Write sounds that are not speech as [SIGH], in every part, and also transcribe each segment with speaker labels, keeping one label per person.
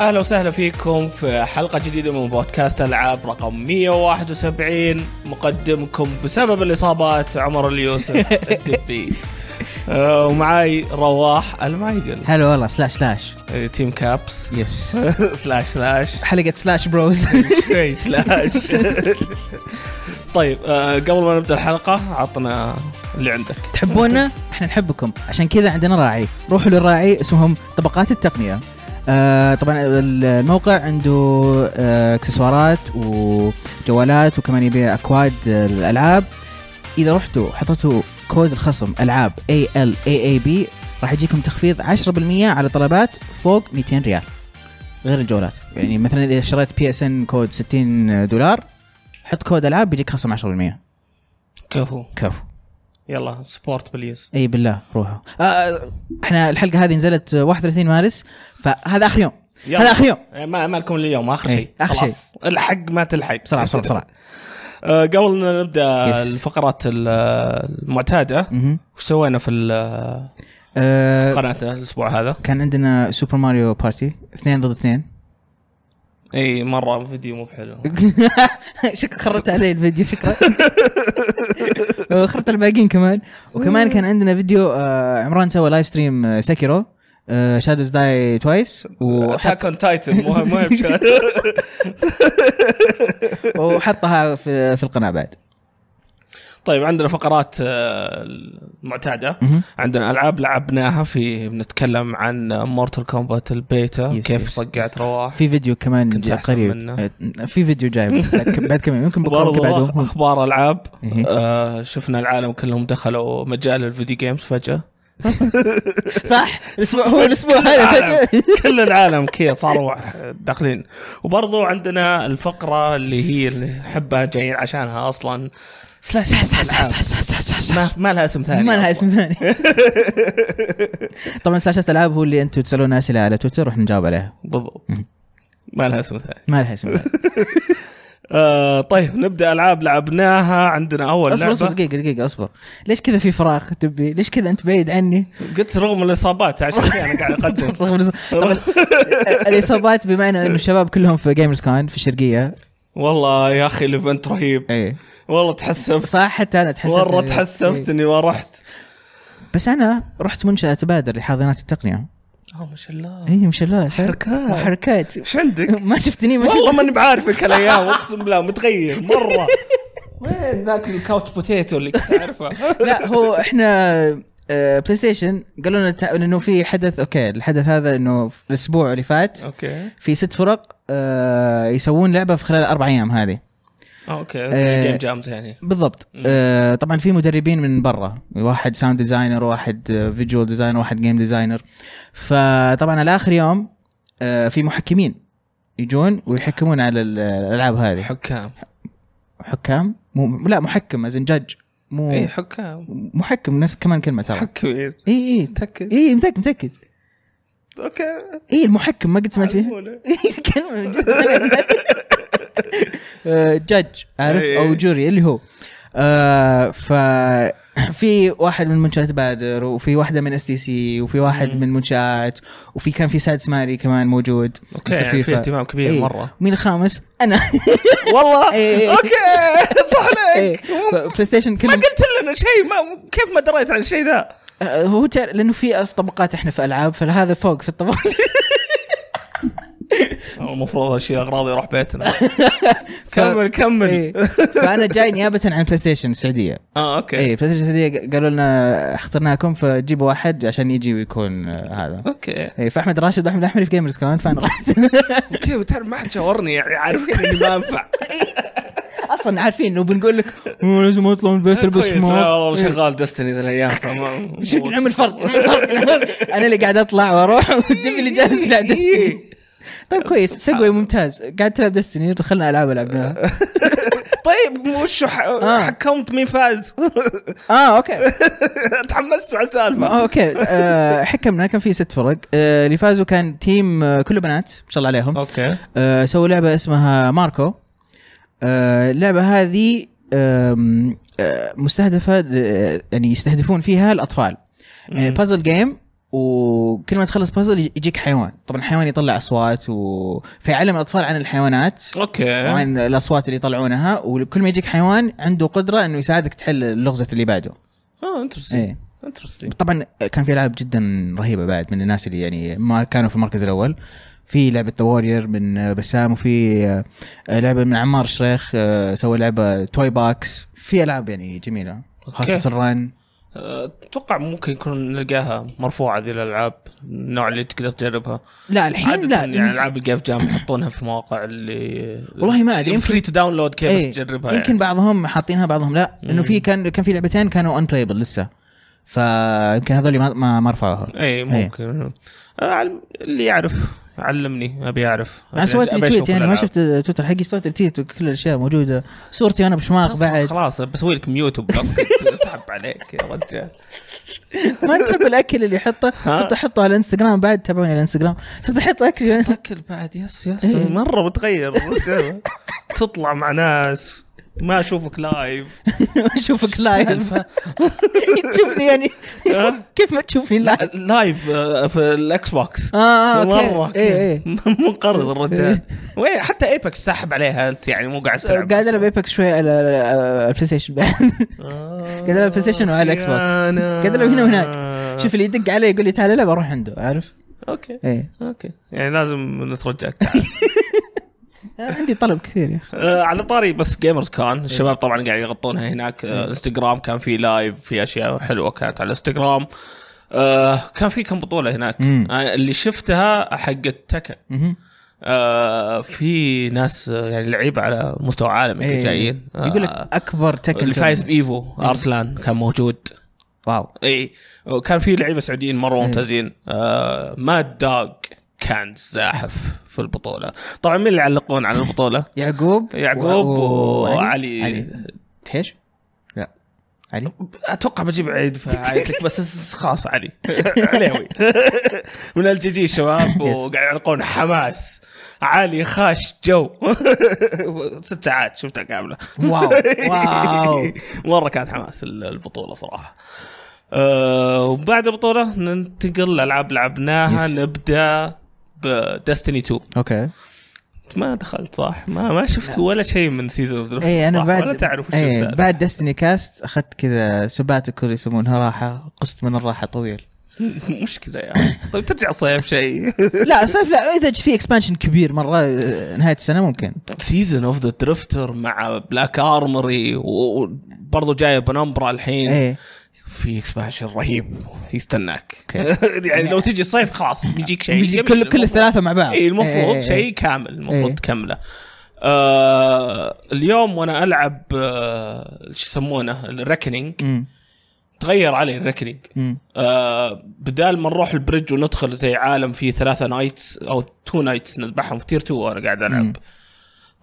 Speaker 1: اهلا وسهلا فيكم في حلقه جديده من بودكاست العاب رقم 171 مقدمكم بسبب الاصابات عمر
Speaker 2: [LAUGHS]
Speaker 1: اليوسف الدبي آه، ومعاي رواح المايقل
Speaker 2: حلو والله سلاش سلاش
Speaker 1: آه، تيم
Speaker 2: [LAUGHS]
Speaker 1: كابس
Speaker 2: يس
Speaker 1: سلاش سلاش
Speaker 2: حلقه سلاش بروز
Speaker 1: شوي سلاش
Speaker 2: [LAUGHS]
Speaker 1: طيب آه، قبل ما نبدا الحلقه عطنا اللي عندك
Speaker 2: تحبونا احنا نحبكم عشان كذا عندنا راعي روحوا للراعي اسمهم طبقات التقنيه آه طبعا ال- الموقع عنده آه اكسسوارات وجوالات وكمان يبيع اكواد آه، الالعاب اذا رحتوا حطيتوا كود الخصم العاب اي ال اي اي بي راح يجيكم تخفيض 10% على طلبات فوق 200 ريال غير الجوالات يعني مثلا اذا اشتريت بي اس ان كود 60 دولار حط كود العاب بيجيك خصم 10%
Speaker 1: كفو
Speaker 2: كفو
Speaker 1: يلا سبورت بليز
Speaker 2: اي بالله روحوا آه احنا الحلقه هذه نزلت 31 مارس فهذا اخر يوم
Speaker 1: يلا.
Speaker 2: هذا اخر يوم
Speaker 1: آه، ما ما لكم اليوم اخر
Speaker 2: إيه،
Speaker 1: شيء
Speaker 2: آخر
Speaker 1: خلاص الحق ما تلحق
Speaker 2: بسرعه بسرعه بسرعه
Speaker 1: آه، قبل ما نبدا
Speaker 2: Yes.
Speaker 1: الفقرات ال- المعتاده
Speaker 2: مهم.
Speaker 1: وش سوينا في ال-
Speaker 2: آه
Speaker 1: قناتنا الاسبوع هذا؟
Speaker 2: كان عندنا سوبر ماريو بارتي اثنين ضد اثنين [LAUGHS]
Speaker 1: اي مره فيديو مو بحلو
Speaker 2: شكرا خربت علي الفيديو شكرا خربت الباقيين كمان وكمان كان عندنا فيديو آه عمران سوى لايف ستريم آه، سكيرو شادوز داي توايس
Speaker 1: اتاك اون تايتن مو مو هي بشهر.
Speaker 2: [LAUGHS] وحطها في في القناه بعد
Speaker 1: طيب عندنا فقرات آه، المعتاده
Speaker 2: مهم.
Speaker 1: عندنا العاب لعبناها في بنتكلم عن مورتال كومبات البيتا
Speaker 2: Yes,
Speaker 1: كيف
Speaker 2: yes,
Speaker 1: صقعت رواح
Speaker 2: في فيديو كمان
Speaker 1: كنت
Speaker 2: جاي
Speaker 1: أحسن
Speaker 2: قريب
Speaker 1: منه.
Speaker 2: في
Speaker 1: [LAUGHS]
Speaker 2: فيديو جاي بعد بعد كم يوم، يمكن بكره يمكن
Speaker 1: برضو
Speaker 2: [LAUGHS] بعده
Speaker 1: اخبار العاب
Speaker 2: إيه.
Speaker 1: آه، شفنا العالم كلهم دخلوا مجال الفيديو جيمز فجاه
Speaker 2: صح الاسبوع هو الاسبوع هذا فجاه
Speaker 1: كل العالم كذا صاروا داخلين وبرضو عندنا الفقره اللي هي اللي نحبها جايين عشانها اصلا سلاش سلاش سلاش سلاش ما, ما لها اسم ثاني
Speaker 2: ما
Speaker 1: أصلاً.
Speaker 2: لها اسم
Speaker 1: [LAUGHS]
Speaker 2: ثاني طبعا سلاشة العاب هو اللي انتم تسالون اسئله على تويتر واحنا نجاوب عليها
Speaker 1: بالضبط ما لها اسم ثاني
Speaker 2: ما لها اسم ثاني
Speaker 1: آه طيب نبدا العاب لعبناها عندنا اول
Speaker 2: اصبر اصبر
Speaker 1: لعبه
Speaker 2: دقيقه دقيقه اصبر ليش كذا في فراغ تبي ليش كذا انت
Speaker 1: [LAUGHS]
Speaker 2: بعيد عني
Speaker 1: قلت رغم الاصابات عشان كذا انا قاعد
Speaker 2: [LAUGHS]
Speaker 1: اقدم
Speaker 2: رغم الإص- طبعا ال- الاصابات بمعنى انه الشباب كلهم في جيمرز كان في الشرقيه
Speaker 1: والله يا اخي الايفنت رهيب
Speaker 2: اي
Speaker 1: والله تحسفت
Speaker 2: صح حتى انا تحسبت
Speaker 1: مره تحسفت اني ما رحت
Speaker 2: بس انا رحت منشاه بادر لحاضنات إيه، التقنيه
Speaker 1: اه ما شاء الله
Speaker 2: اي ما شاء الله
Speaker 1: حركات.
Speaker 2: حركات [LAUGHS]
Speaker 1: ايش عندك؟
Speaker 2: ما شفتني ما
Speaker 1: والله
Speaker 2: شفت
Speaker 1: ماني بعارفك هالايام اقسم بالله متغير مره [LAUGHS] وين ذاك الكاوتش بوتيتو اللي كنت [LAUGHS] اعرفه
Speaker 2: لا هو احنا آه، بلاي ستيشن قالوا لنا تع- انه في حدث اوكي الحدث هذا انه في الاسبوع اللي فات
Speaker 1: اوكي
Speaker 2: في ست فرق آه، يسوون لعبه في خلال اربع ايام هذه
Speaker 1: اوكي
Speaker 2: آه.
Speaker 1: جيم جامز يعني
Speaker 2: بالضبط
Speaker 1: مم.
Speaker 2: آه، طبعا في مدربين من برا واحد ساوند ديزاينر واحد آه، فيجوال ديزاينر واحد جيم ديزاينر فطبعا على اخر يوم آه، في محكمين يجون ويحكمون على ال- الالعاب هذه
Speaker 1: حكام
Speaker 2: حكام مو لا محكم از جاج مو
Speaker 1: اي إيه، حكام
Speaker 2: محكم نفس كمان كلمه ترى إيه،
Speaker 1: حكمين
Speaker 2: اي اي
Speaker 1: متاكد
Speaker 2: اي متاكد متاكد
Speaker 1: اوكي
Speaker 2: اي إيه، المحكم ما قد سمعت فيها [LAUGHS]
Speaker 1: علمونا.
Speaker 2: إي، كلمه من جد [LAUGHS] آه، جاج عارف
Speaker 1: إي.
Speaker 2: او جوري اللي هو آه ف [LAUGHS] في واحد من منشات بادر وفي واحده من اس تي سي وفي واحد
Speaker 1: مم.
Speaker 2: من منشات وفي كان في سادس ماري كمان موجود
Speaker 1: اوكي
Speaker 2: مستر
Speaker 1: يعني في
Speaker 2: فيفا. إيه.
Speaker 1: اهتمام كبير
Speaker 2: إي. [LAUGHS]
Speaker 1: مره
Speaker 2: مين الخامس؟
Speaker 1: [LAUGHS]
Speaker 2: [LAUGHS] انا
Speaker 1: والله
Speaker 2: إي.
Speaker 1: اوكي صح
Speaker 2: إي.
Speaker 1: عليك
Speaker 2: بلاي ستيشن
Speaker 1: ما
Speaker 2: إيه. كلهم
Speaker 1: قلت لنا شيء ما كيف ما دريت عن الشيء ذا
Speaker 2: آه، هو تعرف لانه في ألف طبقات احنا في العاب فهذا فوق في الطبقات [LAUGHS]
Speaker 1: المفروض اشيل اغراضي واروح
Speaker 2: [LAUGHS]
Speaker 1: بيتنا كمل
Speaker 2: إي.
Speaker 1: كمل
Speaker 2: فانا إيه. جاي نيابه عن إيه، بلاي ستيشن السعوديه
Speaker 1: اه اوكي
Speaker 2: اي بلاي ستيشن السعوديه قالوا لنا اخترناكم فجيبوا واحد عشان يجي ويكون آه، هذا
Speaker 1: اوكي
Speaker 2: اي فاحمد راشد واحمد الاحمري في جيمرز كون فانا [LAUGHS] رحت
Speaker 1: كيف تعرف ما حد شاورني يعني عارفين اني ما انفع
Speaker 2: اصلا عارفين انه بنقول لك "أوه، لازم اطلع من البيت إيه. البس
Speaker 1: كويس، لا
Speaker 2: مو
Speaker 1: والله شغال دستني ذا
Speaker 2: [LAUGHS]
Speaker 1: الايام تمام
Speaker 2: شوف نعمل فرق نعمل فرق، نعمل فرق. انا اللي قاعد اطلع واروح والدبي اللي جالس
Speaker 1: إيه.
Speaker 2: يلعب دستني طيب كويس سيجوي ممتاز قاعد تلعب دستني دخلنا العاب لعبناها
Speaker 1: طيب وش ح-
Speaker 2: آه.
Speaker 1: حكمت مين فاز؟ [LAUGHS]
Speaker 2: اه اوكي
Speaker 1: تحمست مع السالفه
Speaker 2: آه، اوكي آه، حكمنا كان في ست فرق آه، اللي فازوا كان تيم آه، كله بنات ما شاء الله عليهم
Speaker 1: اوكي
Speaker 2: آه، سووا لعبه اسمها ماركو آه، اللعبه هذه آم، آه، مستهدفه ل- يعني يستهدفون فيها الاطفال
Speaker 1: مم.
Speaker 2: بازل جيم وكل ما تخلص بازل يجيك حيوان طبعا الحيوان يطلع اصوات و... فيعلم الاطفال عن الحيوانات
Speaker 1: اوكي
Speaker 2: وعن الاصوات اللي يطلعونها وكل ما يجيك حيوان عنده قدره انه يساعدك تحل اللغزه اللي بعده
Speaker 1: اه انترستنج
Speaker 2: ايه
Speaker 1: انترستنج
Speaker 2: طبعا كان في العاب جدا رهيبه بعد من الناس اللي يعني ما كانوا في المركز الاول في لعبه وورير من بسام وفي لعبه من عمار الشريخ آه، سوى لعبه توي باكس في العاب يعني جميله خاصه الران
Speaker 1: اتوقع آه، ممكن يكون نلقاها مرفوعه ذي الالعاب النوع اللي تقدر تجربها
Speaker 2: لا الحين
Speaker 1: عادة
Speaker 2: لا
Speaker 1: يعني العاب الجيف جام يحطونها في مواقع اللي
Speaker 2: والله ما أدري، يمكن-
Speaker 1: فري تو داونلود كيف
Speaker 2: إيه،
Speaker 1: تجربها
Speaker 2: يمكن
Speaker 1: يعني.
Speaker 2: بعضهم حاطينها بعضهم لا انه في
Speaker 1: مم.
Speaker 2: كان كان في لعبتين كانوا ان بلايبل لسه فيمكن هذول ما ما, ما رفعوها
Speaker 1: اي يعني. إيه، ممكن آه، علم- اللي يعرف علمني ابي اعرف
Speaker 2: انا
Speaker 1: أبي-
Speaker 2: سويت
Speaker 1: أبي
Speaker 2: تويت
Speaker 1: أشوف
Speaker 2: يعني ما
Speaker 1: الألعاب.
Speaker 2: شفت تويتر حقي سويت تويت وكل الاشياء موجوده صورتي انا بشماغ بعد
Speaker 1: خلاص بسوي لك ميوت وبلوك اسحب عليك يا رجال
Speaker 2: ما تحب الاكل اللي يحطه
Speaker 1: ها؟
Speaker 2: صرت احطه على الانستغرام بعد تابعوني على الانستغرام صرت احط [LAUGHS] اكل
Speaker 1: تاكل بعد يس يس
Speaker 2: إيه.
Speaker 1: مره بتغير الرجال. تطلع مع ناس ما اشوفك لايف
Speaker 2: اشوفك لايف [LAUGHS] تشوفني يعني
Speaker 1: ها؟
Speaker 2: [LAUGHS] كيف ما تشوفني لايف
Speaker 1: لايف آه، في الاكس بوكس
Speaker 2: اه آه، إيه.
Speaker 1: مره
Speaker 2: اوكي اي اي
Speaker 1: منقرض الرجال وين حتى ايبكس ساحب عليها انت يعني مو قاعد تلعب
Speaker 2: إيه. قاعد العب ايبكس شوي على على البلاي
Speaker 1: [LAUGHS]
Speaker 2: ستيشن بعد قاعد ألعب بلاي ستيشن وعلى الإكس بوكس. قاعد ألعب هنا وهناك. شوف اللي يدق علي يقول لي تعال العب اروح عنده عارف؟
Speaker 1: اوكي
Speaker 2: ايه
Speaker 1: اوكي يعني لازم نترجاك
Speaker 2: عندي طلب كثير يا اخي
Speaker 1: آه، على طاري بس جيمرز كان
Speaker 2: إيه.
Speaker 1: الشباب طبعا قاعد يغطونها هناك آه، الانستغرام كان في لايف في اشياء حلوه كانت على الانستغرام آه، كان في كم بطوله هناك
Speaker 2: مم.
Speaker 1: آه، اللي شفتها حق التكن
Speaker 2: مهم.
Speaker 1: آه، في ناس آه، يعني لعيبه على مستوى عالمي
Speaker 2: إيه.
Speaker 1: جايين آه،
Speaker 2: يقول لك اكبر تكن إيه.
Speaker 1: اللي فايز
Speaker 2: tournament.
Speaker 1: بايفو ارسلان كان موجود
Speaker 2: واو
Speaker 1: اي وكان في لعيبه سعوديين مره
Speaker 2: إيه.
Speaker 1: ممتازين آه ماد داغ كان زاحف في البطوله طبعا مين اللي يعلقون على البطوله
Speaker 2: يعقوب
Speaker 1: يعقوب
Speaker 2: و-
Speaker 1: وعلي.
Speaker 2: علي تهيش؟ لا علي
Speaker 1: اتوقع بجيب عيد
Speaker 2: [LAUGHS]
Speaker 1: في عائلتك بس خلاص علي [LAUGHS] عليوي من الجي جي شباب وقاعد يعلقون حماس علي خاش جو [LAUGHS] ست ساعات شفتها كامله
Speaker 2: واو
Speaker 1: [LAUGHS]
Speaker 2: واو
Speaker 1: مره كانت حماس البطوله صراحه أه وبعد البطوله ننتقل لالعاب لعبناها
Speaker 2: Yes.
Speaker 1: نبدا بدستني 2
Speaker 2: اوكي
Speaker 1: ما دخلت صح ما ما شفت ولا شيء من سيزون اوف
Speaker 2: اي انا إيه، بعد
Speaker 1: ولا تعرف وش
Speaker 2: اي
Speaker 1: السالفه
Speaker 2: بعد دستني كاست اخذت كذا سباتيكول يسمونها راحه قسط من الراحه طويل
Speaker 1: [LAUGHS] مشكله يعني طيب ترجع صيف [LAUGHS] شيء
Speaker 2: لا صيف لا اذا في اكسبانشن كبير مره آه، نهايه السنه ممكن
Speaker 1: سيزون اوف ذا درفتر مع بلاك ارمري وبرضه جايه بنمبرا الحين
Speaker 2: ايه
Speaker 1: في اكسبانشن رهيب يستناك
Speaker 2: أوكي.
Speaker 1: [LAUGHS] يعني لو تجي الصيف خلاص بيجيك شيء
Speaker 2: بيجي
Speaker 1: جميل.
Speaker 2: كل كل الثلاثه مع بعض
Speaker 1: اي المفروض
Speaker 2: إيه،
Speaker 1: شيء كامل المفروض
Speaker 2: إيه.
Speaker 1: تكمله آه اليوم وانا العب آه شو يسمونه الركنينج
Speaker 2: أمم،
Speaker 1: تغير علي الركنينج
Speaker 2: أمم.
Speaker 1: آه بدال ما نروح البريدج وندخل زي عالم فيه ثلاثة نايتس او تو نايتس نذبحهم في تير 2 وانا قاعد
Speaker 2: مم.
Speaker 1: العب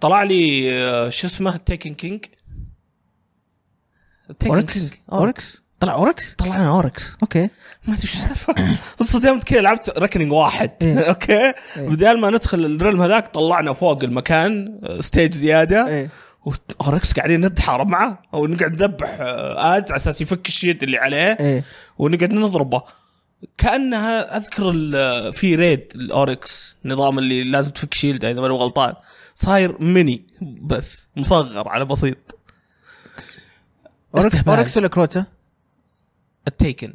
Speaker 1: طلع لي آه شو اسمه تيكن كينج
Speaker 2: اوركس اوركس طلع اوركس
Speaker 1: طلع لنا اوركس
Speaker 2: اوكي
Speaker 1: آه. ما ادري ايش السالفه [LAUGHS] انصدمت كذا لعبت ركنينج واحد [LAUGHS]
Speaker 2: إيه.
Speaker 1: اوكي بدال ما ندخل الريلم هذاك طلعنا فوق المكان آه، ستيج زياده
Speaker 2: ايه
Speaker 1: واوركس قاعدين نتحارب معه او نقعد نذبح آه، ادز على اساس يفك الشيت اللي عليه
Speaker 2: ايه
Speaker 1: ونقعد نضربه كانها اذكر ال- في ريد الاوركس نظام اللي لازم تفك شيلد اذا ماني غلطان صاير ميني بس مصغر على بسيط
Speaker 2: اوركس
Speaker 1: استهبال.
Speaker 2: اوركس ولا كروتا؟
Speaker 1: التيكن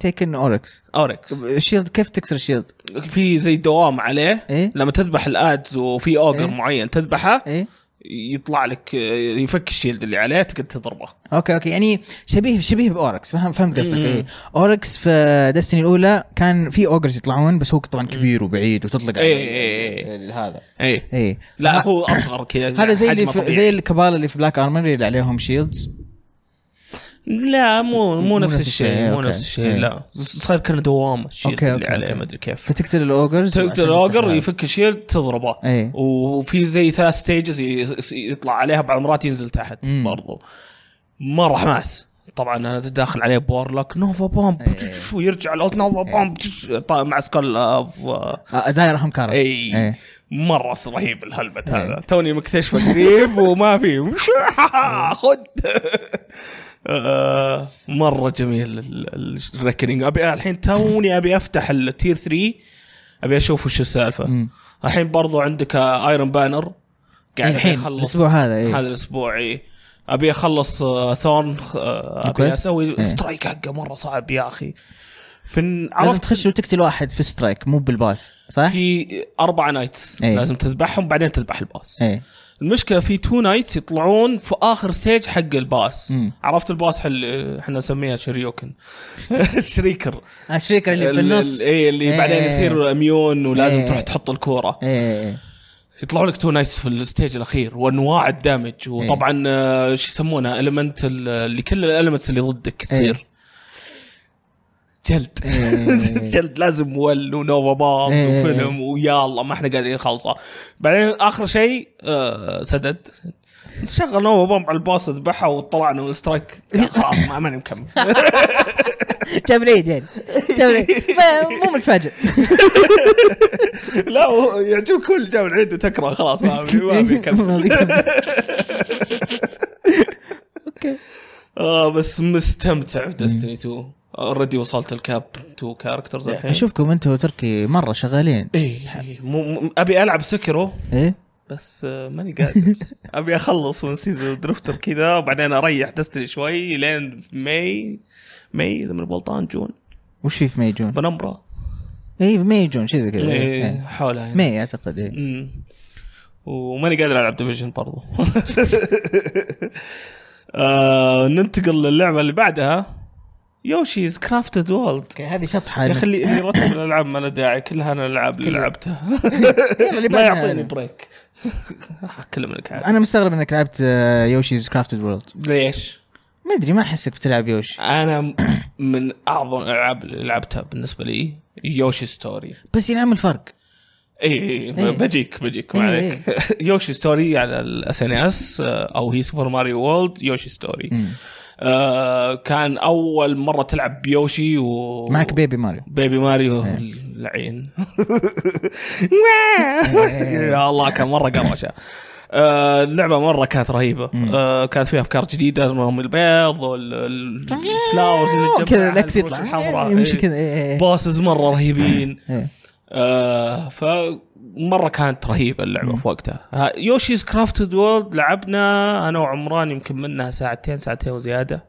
Speaker 2: تيكن اوركس
Speaker 1: اوركس
Speaker 2: شيلد كيف تكسر شيلد؟
Speaker 1: في زي دوام عليه
Speaker 2: إيه؟
Speaker 1: لما تذبح الادز وفي اوجر
Speaker 2: إيه؟
Speaker 1: معين تذبحه
Speaker 2: ايه
Speaker 1: يطلع لك يفك الشيلد اللي عليه تقدر تضربه
Speaker 2: اوكي اوكي يعني شبيه شبيه باوركس فهم فهمت قصدك
Speaker 1: مم.
Speaker 2: اي اوركس في دستني الاولى كان في اوجرز يطلعون بس هو طبعا كبير وبعيد وتطلق
Speaker 1: إي
Speaker 2: عليه
Speaker 1: إي إي.
Speaker 2: ال- هذا
Speaker 1: اي
Speaker 2: اي
Speaker 1: إيه، لا هو اصغر كذا
Speaker 2: [LAUGHS] هذا زي اللي
Speaker 1: حجمه
Speaker 2: في
Speaker 1: طبيعي.
Speaker 2: زي الكبال اللي في بلاك ارمر اللي عليهم شيلدز
Speaker 1: لا مو مو نفس
Speaker 2: نفس الشيء،
Speaker 1: الشيء مو
Speaker 2: أوكي.
Speaker 1: نفس الشيء
Speaker 2: إيه.
Speaker 1: لا صار كان دوامه الشيلد اللي
Speaker 2: أوكي، أوكي،
Speaker 1: عليه
Speaker 2: أوكي.
Speaker 1: ما ادري كيف
Speaker 2: فتقتل الاوجرز
Speaker 1: تقتل
Speaker 2: وعشان
Speaker 1: الاوجر
Speaker 2: تفتح
Speaker 1: يفك الشيلد تضربه
Speaker 2: إيه.
Speaker 1: وفي زي ثلاث ستيجز يطلع عليها بعض المرات ينزل تحت
Speaker 2: مم.
Speaker 1: برضو مره حماس طبعا انا داخل عليه بورلوك نوفا بومب
Speaker 2: إيه.
Speaker 1: شو يرجع لوت نوفا بومب طا- مع سكال اوف
Speaker 2: هذا. آه، دايره هم كارت
Speaker 1: اي
Speaker 2: إيه.
Speaker 1: مره رهيب الهلمت
Speaker 2: إيه.
Speaker 1: [LAUGHS]
Speaker 2: [LAUGHS]
Speaker 1: هذا توني مكتشفه قريب وما في خد آه، مره جميل الريكنينج ابي الحين توني ابي افتح التير 3 ابي اشوف وش السالفه
Speaker 2: مم.
Speaker 1: الحين برضو عندك ايرون بانر قاعد
Speaker 2: إيه، الحين،
Speaker 1: أبي اخلص
Speaker 2: الأسبوع هذا، إيه.
Speaker 1: هذا الاسبوع اي ابي اخلص آه، ثورن آه، ابي
Speaker 2: كويس.
Speaker 1: اسوي
Speaker 2: إيه.
Speaker 1: سترايك حقه مره صعب يا اخي في
Speaker 2: لازم
Speaker 1: عرفت
Speaker 2: تخش وتقتل واحد في سترايك مو بالباس صح؟
Speaker 1: في اربع نايتس
Speaker 2: إيه.
Speaker 1: لازم تذبحهم بعدين تذبح الباص
Speaker 2: ايه
Speaker 1: المشكله في تو نايتس يطلعون في اخر ستيج حق الباص
Speaker 2: مم.
Speaker 1: عرفت الباص حل... احنا نسميها شريوكن [LAUGHS] الشريكر
Speaker 2: الشريك اللي في
Speaker 1: ال-
Speaker 2: النص
Speaker 1: ال- اي اللي
Speaker 2: إيه.
Speaker 1: بعدين يصير اميون ولازم
Speaker 2: إيه.
Speaker 1: تروح تحط الكوره
Speaker 2: ايه إيه.
Speaker 1: يطلعوا لك تو نايتس في الستيج الاخير وانواع الدامج
Speaker 2: إيه.
Speaker 1: وطبعا آه، شو يسمونه المنت اللي كل الالمنتس اللي ضدك تصير جلد
Speaker 2: إيه.
Speaker 1: [LAUGHS] جلد لازم ول ونوفا بامز
Speaker 2: إيه.
Speaker 1: وفيلم ويلا ما احنا قادرين نخلصه بعدين اخر شيء آه، سدد شغل نوفا بامب على الباص ذبحها وطلعنا من السترايك
Speaker 2: [LAUGHS]
Speaker 1: لا، خلاص ما ماني مكمل [LAUGHS]
Speaker 2: جاب العيد يعني جاب العيد
Speaker 1: [LAUGHS]
Speaker 2: ما- مو متفاجئ
Speaker 1: لا هو يعجبك كل جاب العيد وتكره خلاص ما أبي-
Speaker 2: [LAUGHS]
Speaker 1: ما أبي اكمل
Speaker 2: ما بيكمل.
Speaker 1: اه بس مستمتع بدستني 2 اوريدي وصلت الكاب 2 كاركترز
Speaker 2: يعني
Speaker 1: الحين
Speaker 2: اشوفكم انتم وتركي مره شغالين
Speaker 1: اي مو مو- ابي العب سكرو
Speaker 2: ايه
Speaker 1: بس آه، ماني قادر ابي اخلص من سيزون درفتر كذا وبعدين اريح دستني شوي لين في ماي ماي اذا من غلطان جون
Speaker 2: وش في في ميجون؟
Speaker 1: بنمره
Speaker 2: اي ميجون شيء زي كذا إيه.
Speaker 1: إيه،
Speaker 2: إيه.
Speaker 1: حولها هنا.
Speaker 2: مي اعتقد ايه
Speaker 1: مم. وماني قادر العب ديفيجن برضو [LAUGHS] آه ننتقل للعبه اللي بعدها يوشيز كرافتد وولد
Speaker 2: اوكي هذه شطحه
Speaker 1: يا اخي اللي
Speaker 2: [LAUGHS]
Speaker 1: اللي رتب الالعاب ما له داعي كلها انا الالعاب اللي لعبتها [LAUGHS]
Speaker 2: اللي
Speaker 1: ما
Speaker 2: بعدها
Speaker 1: يعطيني
Speaker 2: أنا.
Speaker 1: بريك اكلم منك عاد
Speaker 2: انا مستغرب انك لعبت آه، يوشيز كرافتد وورلد
Speaker 1: ليش؟
Speaker 2: ما ادري ما احسك بتلعب يوشي
Speaker 1: انا م- من اعظم الالعاب اللي لعبتها بالنسبه لي يوشي ستوري
Speaker 2: بس ينعم الفرق
Speaker 1: اي
Speaker 2: إيه.
Speaker 1: ب- بجيك بجيك ما
Speaker 2: إيه،
Speaker 1: عليك [LAUGHS] يوشي ستوري على الاس ان اس او آه، هي سوبر ماريو وولد يوشي ستوري
Speaker 2: مم.
Speaker 1: آه كان اول مره تلعب بيوشي و
Speaker 2: معك بيبي ماريو
Speaker 1: بيبي ماريو
Speaker 2: [LAUGHS]
Speaker 1: اللعين [LAUGHS] يا الله كان مره قرشه آه، اللعبة مرة كانت رهيبة آه، كانت فيها افكار جديدة رمي البيض والفلاورز اللي تجمعها،
Speaker 2: آه، كذا الاكس
Speaker 1: الوش
Speaker 2: يطلع
Speaker 1: الحمراء
Speaker 2: يمشي
Speaker 1: إيه.
Speaker 2: كذا إيه، إيه،
Speaker 1: بوسز مرة رهيبين
Speaker 2: إيه.
Speaker 1: آه، فمرة كانت رهيبة اللعبة في وقتها يوشيز كرافتد وورلد لعبنا انا وعمران يمكن منها ساعتين ساعتين وزيادة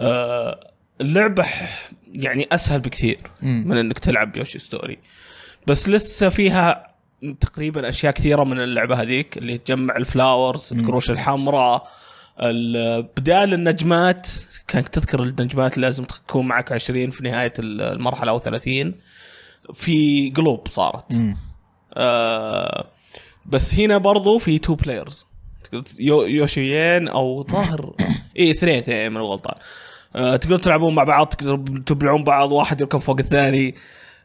Speaker 1: آه، اللعبة ح- يعني اسهل بكثير
Speaker 2: مم.
Speaker 1: من انك تلعب يوشي ستوري بس لسه فيها تقريبا اشياء كثيره من اللعبه هذيك اللي تجمع الفلاورز القروش الحمراء ال- بدال النجمات كانك تذكر النجمات لازم تكون معك 20 في نهايه ال- المرحله او 30 في قلوب صارت
Speaker 2: مم.
Speaker 1: آه بس هنا برضو في تو بلايرز تقدر ت- يو- يوشيين او ظاهر اي اثنين اثنين من الغلطان آه تقدروا تلعبون مع بعض تقدروا تبلعون بعض واحد يركب فوق الثاني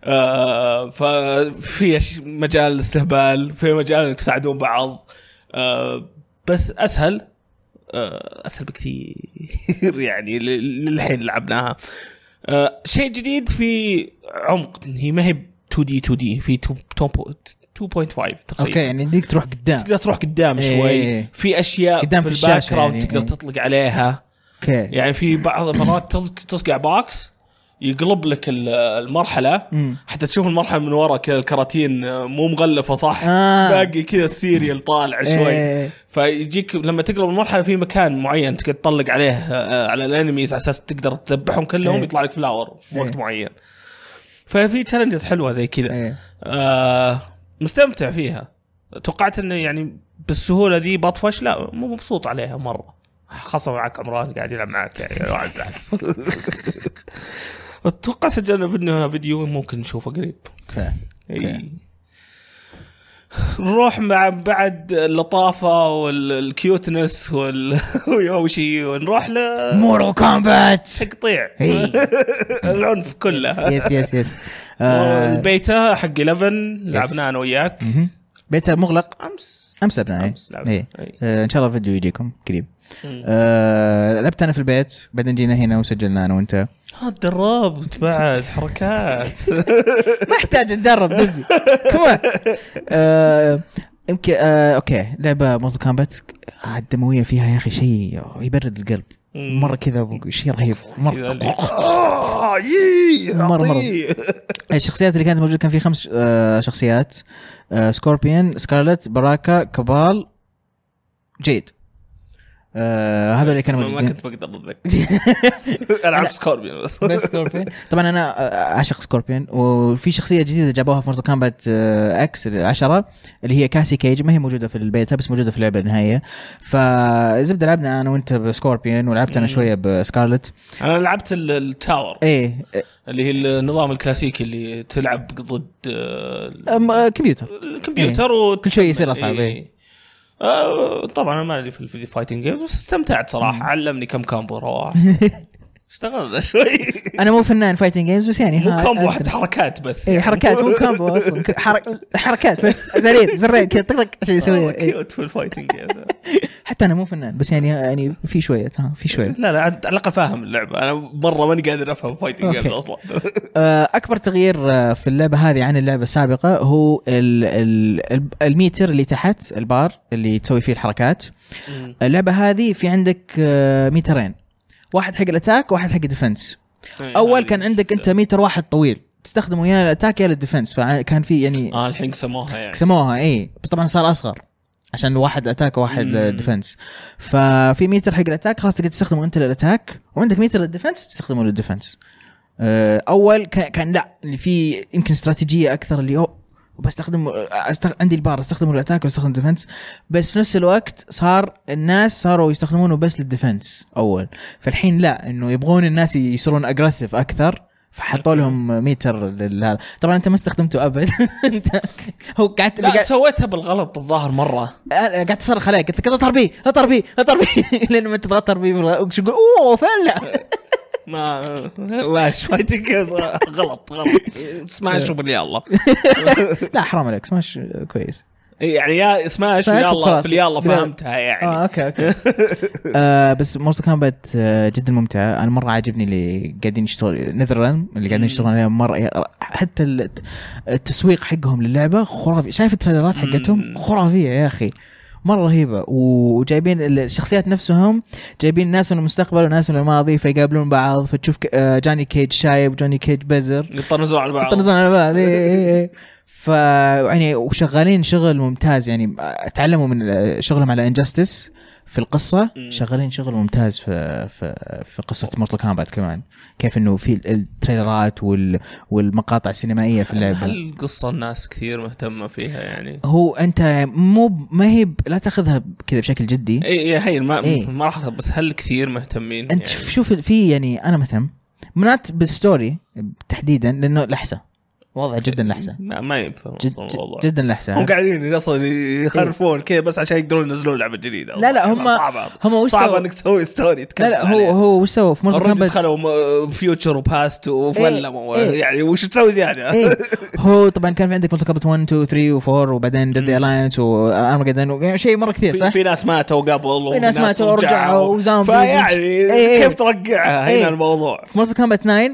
Speaker 1: آه ففي أش- مجال استهبال في مجال انك تساعدون بعض آه بس اسهل آه اسهل بكثير [LAUGHS] يعني ل- للحين لعبناها آه، شيء جديد في عمق هي ما هي 2 دي 2 دي في 2 2.5
Speaker 2: اوكي
Speaker 1: تقريبا
Speaker 2: يعني يديك تروح قدام
Speaker 1: تقدر تروح قدام
Speaker 2: إيه.
Speaker 1: شوي في اشياء
Speaker 2: قدام في
Speaker 1: في الباك
Speaker 2: الشاشة
Speaker 1: جراوند
Speaker 2: يعني.
Speaker 1: تقدر
Speaker 2: إيه.
Speaker 1: تطلق عليها
Speaker 2: اوكي
Speaker 1: يعني في بعض المرات تصق- تصقع باكس يقلب لك ال- المرحله
Speaker 2: مم.
Speaker 1: حتى تشوف المرحله من ورا كذا الكراتين آه، مو مغلفه صح
Speaker 2: آه.
Speaker 1: باقي كذا السيريال طالع شوي
Speaker 2: إيه.
Speaker 1: فيجيك لما تقلب المرحله في مكان معين تقدر تطلق عليه آه، على الانميز على اساس تقدر تذبحهم كلهم
Speaker 2: إيه.
Speaker 1: يطلع لك فلاور في وقت
Speaker 2: إيه.
Speaker 1: معين ففي تشالنجز حلوه زي كذا
Speaker 2: إيه.
Speaker 1: آه مستمتع فيها توقعت انه يعني بالسهوله ذي بطفش لا مو مبسوط عليها مره خاصه معك عمران قاعد يلعب معك يعني واحد زعل.
Speaker 2: [LAUGHS]
Speaker 1: اتوقع سجلنا منها فيديو ممكن نشوفه قريب
Speaker 2: اوكي
Speaker 1: إي. نروح مع بعد اللطافه والكيوتنس وال... [LAUGHS] ويوشي ونروح
Speaker 2: مورال كومبات
Speaker 1: لتقطيع
Speaker 2: إي.
Speaker 1: [LAUGHS] العنف كله
Speaker 2: يس
Speaker 1: [LAUGHS]
Speaker 2: يس يس آه،
Speaker 1: البيتا حق 11 لعبناه انا وياك
Speaker 2: مهم. بيتها مغلق
Speaker 1: امس
Speaker 2: امس لعبناه إيه.
Speaker 1: أمس لعبناه،
Speaker 2: إيه.
Speaker 1: إيه.
Speaker 2: آه، ان شاء الله الفيديو يجيكم قريب
Speaker 1: مم.
Speaker 2: آه، لعبت انا في البيت بعدين جينا هنا وسجلنا انا
Speaker 1: [LAUGHS]
Speaker 2: وانت
Speaker 1: ها تدربت بعد
Speaker 2: [LAUGHS]
Speaker 1: حركات
Speaker 2: ما احتاج اتدرب دبي كمان آه، آه، يمكن آه، اوكي لعبه مورتال كومبات الدمويه فيها يا اخي شيء يبرد القلب
Speaker 1: مم.
Speaker 2: مره كذا شيء رهيب
Speaker 1: كذا
Speaker 2: مره [LAUGHS]
Speaker 1: اللي- آه، يي،
Speaker 2: مرة- مرة.
Speaker 1: أعطيه.
Speaker 2: الشخصيات اللي كانت موجوده كان في خمس آه، شخصيات آه، سكوربيون سكارلت باراكا كبال جيد آه هذا اللي كانوا
Speaker 1: ما
Speaker 2: موجودين
Speaker 1: كنت بقدر [LAUGHS] اتذكر العب سكوربيون بس
Speaker 2: [LAUGHS] بس سكوربيون طبعا انا آه، اعشق سكوربيون وفي شخصيه جديده جابوها في مورتال كامبات اكس 10 اللي هي كاسي كيج ما هي موجوده في البيتا بس موجوده في اللعبه النهائيه فزبده لعبنا انا وانت بسكوربيون ولعبت انا
Speaker 1: مم.
Speaker 2: شويه بسكارلت
Speaker 1: انا لعبت ال- التاور
Speaker 2: ايه
Speaker 1: اللي هي النظام الكلاسيكي اللي تلعب ضد آه،
Speaker 2: أم- آه، كمبيوتر
Speaker 1: الكمبيوتر آه، و
Speaker 2: كل شوي يصير أصعب، إيه.
Speaker 1: طبعا انا مالي في الفيديو فايتنج جيمز بس استمتعت صراحه علمني كم كامبو
Speaker 2: [LAUGHS]
Speaker 1: روح اشتغلنا شوي
Speaker 2: انا مو فنان فايتنج جيمز بس يعني
Speaker 1: مو
Speaker 2: ها-
Speaker 1: كامبو
Speaker 2: أنت-
Speaker 1: حتى إيه، حركات بس يعني.
Speaker 2: اي
Speaker 1: [LAUGHS]
Speaker 2: حركات مو كامبو اصلا ك- حرك- حركات بس زرين زرين كذا طقطق عشان يسويها إيه.
Speaker 1: كيوت آه، في الفايتنج جيمز
Speaker 2: [LAUGHS] حتى انا مو فنان بس يعني يعني في شويه ها في شويه
Speaker 1: لا لا على الاقل فاهم اللعبه انا مره ماني قادر افهم فايتنج جيمز
Speaker 2: أوكي. [LAUGHS]
Speaker 1: اصلا
Speaker 2: آه، اكبر تغيير آه، في اللعبه هذه عن اللعبه السابقه هو ال ال ال- الميتر اللي تحت البار اللي تسوي فيه الحركات اللعبه هذه في عندك آه، ميترين واحد حق الاتاك وواحد حق الديفنس
Speaker 1: إيه،
Speaker 2: اول كان عندك انت ميتر واحد طويل تستخدمه يا للاتاك يا للديفنس فكان في يعني
Speaker 1: اه الحين سموها يعني
Speaker 2: قسموها اي إيه. بس طبعا صار اصغر عشان واحد اتاك وواحد
Speaker 1: مم.
Speaker 2: ديفنس ففي ميتر حق الاتاك خلاص تقدر تستخدمه انت للاتاك وعندك ميتر للديفنس تستخدمه للديفنس آه، اول كا- كان لا اللي في يمكن استراتيجيه اكثر اللي هو بستخدم آه، أستخ... عندي البار استخدمه للاتاك واستخدم ديفنس بس في نفس الوقت صار الناس صاروا يستخدمونه بس للديفنس اول فالحين لا انه يبغون الناس يصيرون اجريسيف اكثر فحطوا لهم ميتر لهذا طبعا انت ما استخدمته [LAUGHS] ابد انت هو قعدت
Speaker 1: لا
Speaker 2: قاعد-
Speaker 1: سويتها بالغلط الظاهر مره
Speaker 2: أنا قاعد تصرخ عليه قلت لك اضطر بيه اضطر بيه اضطر بيه [LAUGHS] لانه ما تبغى اضطر بيه بالغ- وش يقول اوه فلا
Speaker 1: ما [LAUGHS] ماشي فايتنج جيمز غلط غلط سماش وباللي الله
Speaker 2: لا حرام عليك سماش كويس
Speaker 1: يعني يا سماش
Speaker 2: سماش
Speaker 1: يا الله
Speaker 2: وخلاص.
Speaker 1: باللي الله
Speaker 2: بلا-
Speaker 1: فهمتها
Speaker 2: اه
Speaker 1: يعني
Speaker 2: اوكي
Speaker 1: [LAUGHS]
Speaker 2: اوكي آه بس مورتال كامبات آه جدا ممتعه انا مره عاجبني اللي قاعدين يشتغل نذر رن اللي قاعدين
Speaker 1: مم.
Speaker 2: يشتغلون عليها مره حتى ال- التسويق حقهم للعبه خرافي شايف التريلرات حقتهم
Speaker 1: مم.
Speaker 2: خرافيه يا اخي مره رهيبه وجايبين الشخصيات نفسهم جايبين ناس من المستقبل وناس من الماضي فيقابلون بعض فتشوف ك- آه، جوني كيج شايب جوني كيج بزر
Speaker 1: يطنزون على بعض
Speaker 2: يطنزون على بعض إيه، إي إي إي. ف يعني وشغالين شغل ممتاز يعني تعلموا من شغلهم على انجستس في القصه
Speaker 1: مم.
Speaker 2: شغالين شغل ممتاز في في, في قصه مورتال كامبات كمان كيف انه في التريلرات وال والمقاطع السينمائيه في اللعبه
Speaker 1: هل القصه الناس كثير مهتمه فيها يعني
Speaker 2: هو انت مو ب- ما هي ب- لا تاخذها كذا بشكل جدي
Speaker 1: اي يا هي ما,
Speaker 2: إيه.
Speaker 1: ما راح أخذ، بس هل كثير مهتمين
Speaker 2: انت
Speaker 1: يعني؟
Speaker 2: شوف شوف في يعني انا مهتم منات بالستوري تحديدا لانه لحسه وضع جدا لحسه
Speaker 1: ما, ما ينفع
Speaker 2: جد
Speaker 1: أصلاً
Speaker 2: إيه.
Speaker 1: الموضوع.
Speaker 2: جدا لحسه
Speaker 1: هم قاعدين اصلا يخرفون كذا بس عشان يقدرون ينزلون لعبه جديده
Speaker 2: لا، لا، هم-
Speaker 1: صعبه
Speaker 2: هم وش
Speaker 1: صعبه
Speaker 2: سووا؟
Speaker 1: انك تسوي ستوري
Speaker 2: لا لا هو هو وش سوى في مورتال
Speaker 1: اوريدي
Speaker 2: كامبات
Speaker 1: دخلوا فيوتشر وباست وفلموا
Speaker 2: إيه.
Speaker 1: يعني وش تسوي زياده؟ [LAUGHS]
Speaker 2: ايه هو طبعا كان في عندك مورتال كامبات 1 2 3 و4 وبعدين ديدلي الاينس وارمجدن يعني شيء مره كثير
Speaker 1: في,
Speaker 2: صح؟
Speaker 1: في ناس ماتوا قبل وفي
Speaker 2: ناس ماتوا ورجعوا وزومبيز
Speaker 1: فيعني
Speaker 2: إيه، إيه.
Speaker 1: كيف ترقعها
Speaker 2: إيه.
Speaker 1: هنا الموضوع
Speaker 2: في مورتال كامبات 9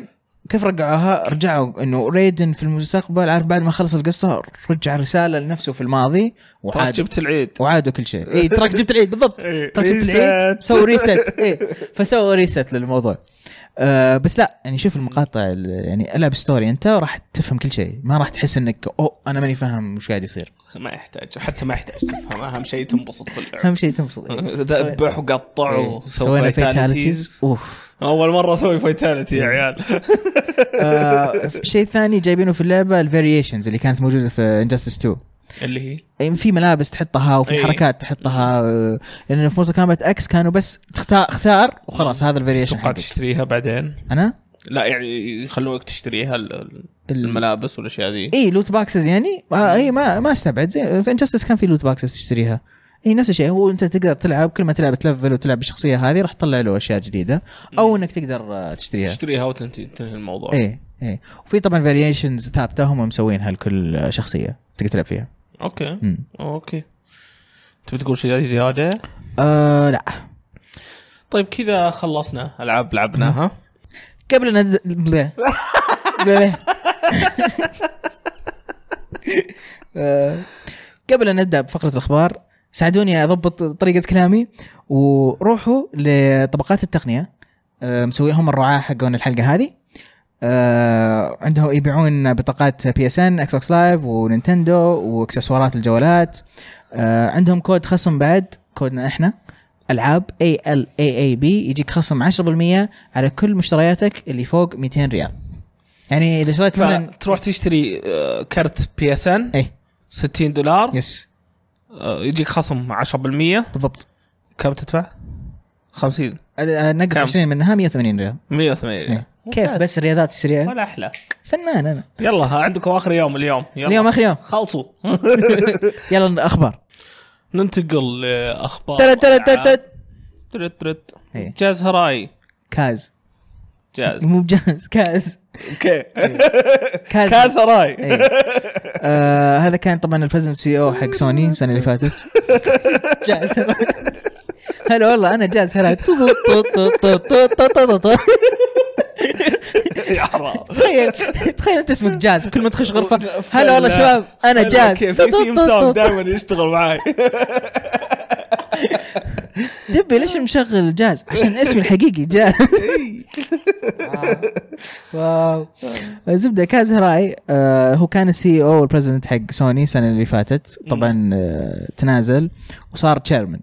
Speaker 2: كيف رجعوها؟ رجعوا انه ريدن في المستقبل عارف بعد ما خلص القصه رجع رساله لنفسه في الماضي
Speaker 1: ترى
Speaker 2: وعاد
Speaker 1: طيب، جبت العيد
Speaker 2: وعادوا كل شيء اي تراك جبت العيد بالضبط
Speaker 1: إيه،
Speaker 2: تراك جبت العيد
Speaker 1: ريست.
Speaker 2: سووا ريست اي فسووا ريست للموضوع آه بس لا يعني شوف المقاطع ال- يعني العب ستوري انت راح تفهم كل شيء ما راح تحس انك اوه انا ماني فاهم وش قاعد يصير
Speaker 1: ما يحتاج حتى ما يحتاج تفهم اهم شيء تنبسط في اللعب
Speaker 2: اهم شيء تنبسط إيه.
Speaker 1: [LAUGHS] ذبح وقطع
Speaker 2: إيه.
Speaker 1: وسوي
Speaker 2: سوينا إيه.
Speaker 1: فايتاليتيز
Speaker 2: فيتاليتيز
Speaker 1: [LAUGHS]
Speaker 2: اوف
Speaker 1: اول مره اسوي فايتاليتي يا عيال
Speaker 2: [LAUGHS] آه شيء ثاني جايبينه في اللعبه الفاريشنز اللي كانت موجوده في انجستس 2
Speaker 1: اللي هي
Speaker 2: يعني في ملابس تحطها وفي
Speaker 1: إيه.
Speaker 2: حركات تحطها آه، لانه في مورتال كامبات اكس كانوا بس تختار اختار وخلاص هذا الفاريشن
Speaker 1: تبقى
Speaker 2: حقك
Speaker 1: تشتريها بعدين
Speaker 2: انا
Speaker 1: لا يعني يخلونك تشتريها ال- ال- الملابس والاشياء ذي
Speaker 2: اي لوت باكسز يعني آه اي ما ما استبعد زي في انجستس كان في لوت باكسز تشتريها اي نفس الشيء هو انت تقدر تلعب كل ما تلعب تلفل وتلعب بالشخصيه هذه راح تطلع له اشياء جديده او انك تقدر آه، تشتريها
Speaker 1: تشتريها وتنتهي تنهي الموضوع
Speaker 2: ايه ايه وفي طبعا فاريشنز ثابته هم مسوينها لكل آه، شخصيه تقدر تلعب فيها
Speaker 1: اوكي
Speaker 2: مم.
Speaker 1: اوكي تبي تقول شيء زياده؟
Speaker 2: آه لا
Speaker 1: طيب كذا خلصنا العاب لعبناها
Speaker 2: قبل ان أد- [LAUGHS] بليه. بليه. آه، قبل ان نبدا بفقره الاخبار ساعدوني اضبط طريقه كلامي وروحوا لطبقات التقنيه آه، مسوي لهم الرعاه حقون الحلقه هذه آه، عندهم يبيعون بطاقات بي اس ان اكس بوكس لايف ونينتندو واكسسوارات الجوالات آه، عندهم كود خصم بعد كودنا احنا العاب اي ال اي اي بي يجيك خصم 10% على كل مشترياتك اللي فوق 200 ريال يعني اذا شريت مثلا
Speaker 1: تروح تشتري آه، كرت بي اس ان
Speaker 2: اي
Speaker 1: 60 دولار
Speaker 2: يس
Speaker 1: آه، يجيك خصم 10%
Speaker 2: بالضبط
Speaker 1: كم تدفع؟ 50
Speaker 2: آه، نقص
Speaker 1: كم؟
Speaker 2: 20 منها 180 ريال
Speaker 1: 180
Speaker 2: إيه. كيف بس الرياضات السريعه
Speaker 1: ولا احلى
Speaker 2: فنان انا
Speaker 1: يلا ها، عندكم اخر يوم اليوم يلا
Speaker 2: اليوم
Speaker 1: [LAUGHS]
Speaker 2: اخر يوم
Speaker 1: خلصوا
Speaker 2: يلا اخبار
Speaker 1: ننتقل لاخبار
Speaker 2: ترى ترى ترى- ترى
Speaker 1: ترت ترت
Speaker 2: إيه.
Speaker 1: جاز هراي
Speaker 2: كاز [LAUGHS]
Speaker 1: جاز
Speaker 2: مو بجاز كاز
Speaker 1: اوكي
Speaker 2: كاز,
Speaker 1: كاز هراي
Speaker 2: إيه. آه هذا كان طبعا البريزنت سي او E حق سوني السنه اللي
Speaker 1: [LAUGHS]
Speaker 2: فاتت جاز هلا والله انا جاز هلا تو- تو- تو- تو- تو- تو- تو- تو-
Speaker 1: [LAUGHS] يا حرام
Speaker 2: تخيل تخيل انت اسمك جاز كل ما تخش غرفه هلا والله شباب انا جاز
Speaker 1: كيف
Speaker 2: تو-
Speaker 1: في
Speaker 2: تو-
Speaker 1: ثيم
Speaker 2: تو- تو- [LAUGHS]
Speaker 1: سونج
Speaker 2: تو.
Speaker 1: دائما يشتغل معاي
Speaker 2: دبي ليش مشغل جاز عشان اسمي الحقيقي جاز [LAUGHS] واو زبده كاز هراي آه هو كان السي او والبريزدنت حق سوني السنه اللي فاتت طبعا آه تنازل وصار تشيرمن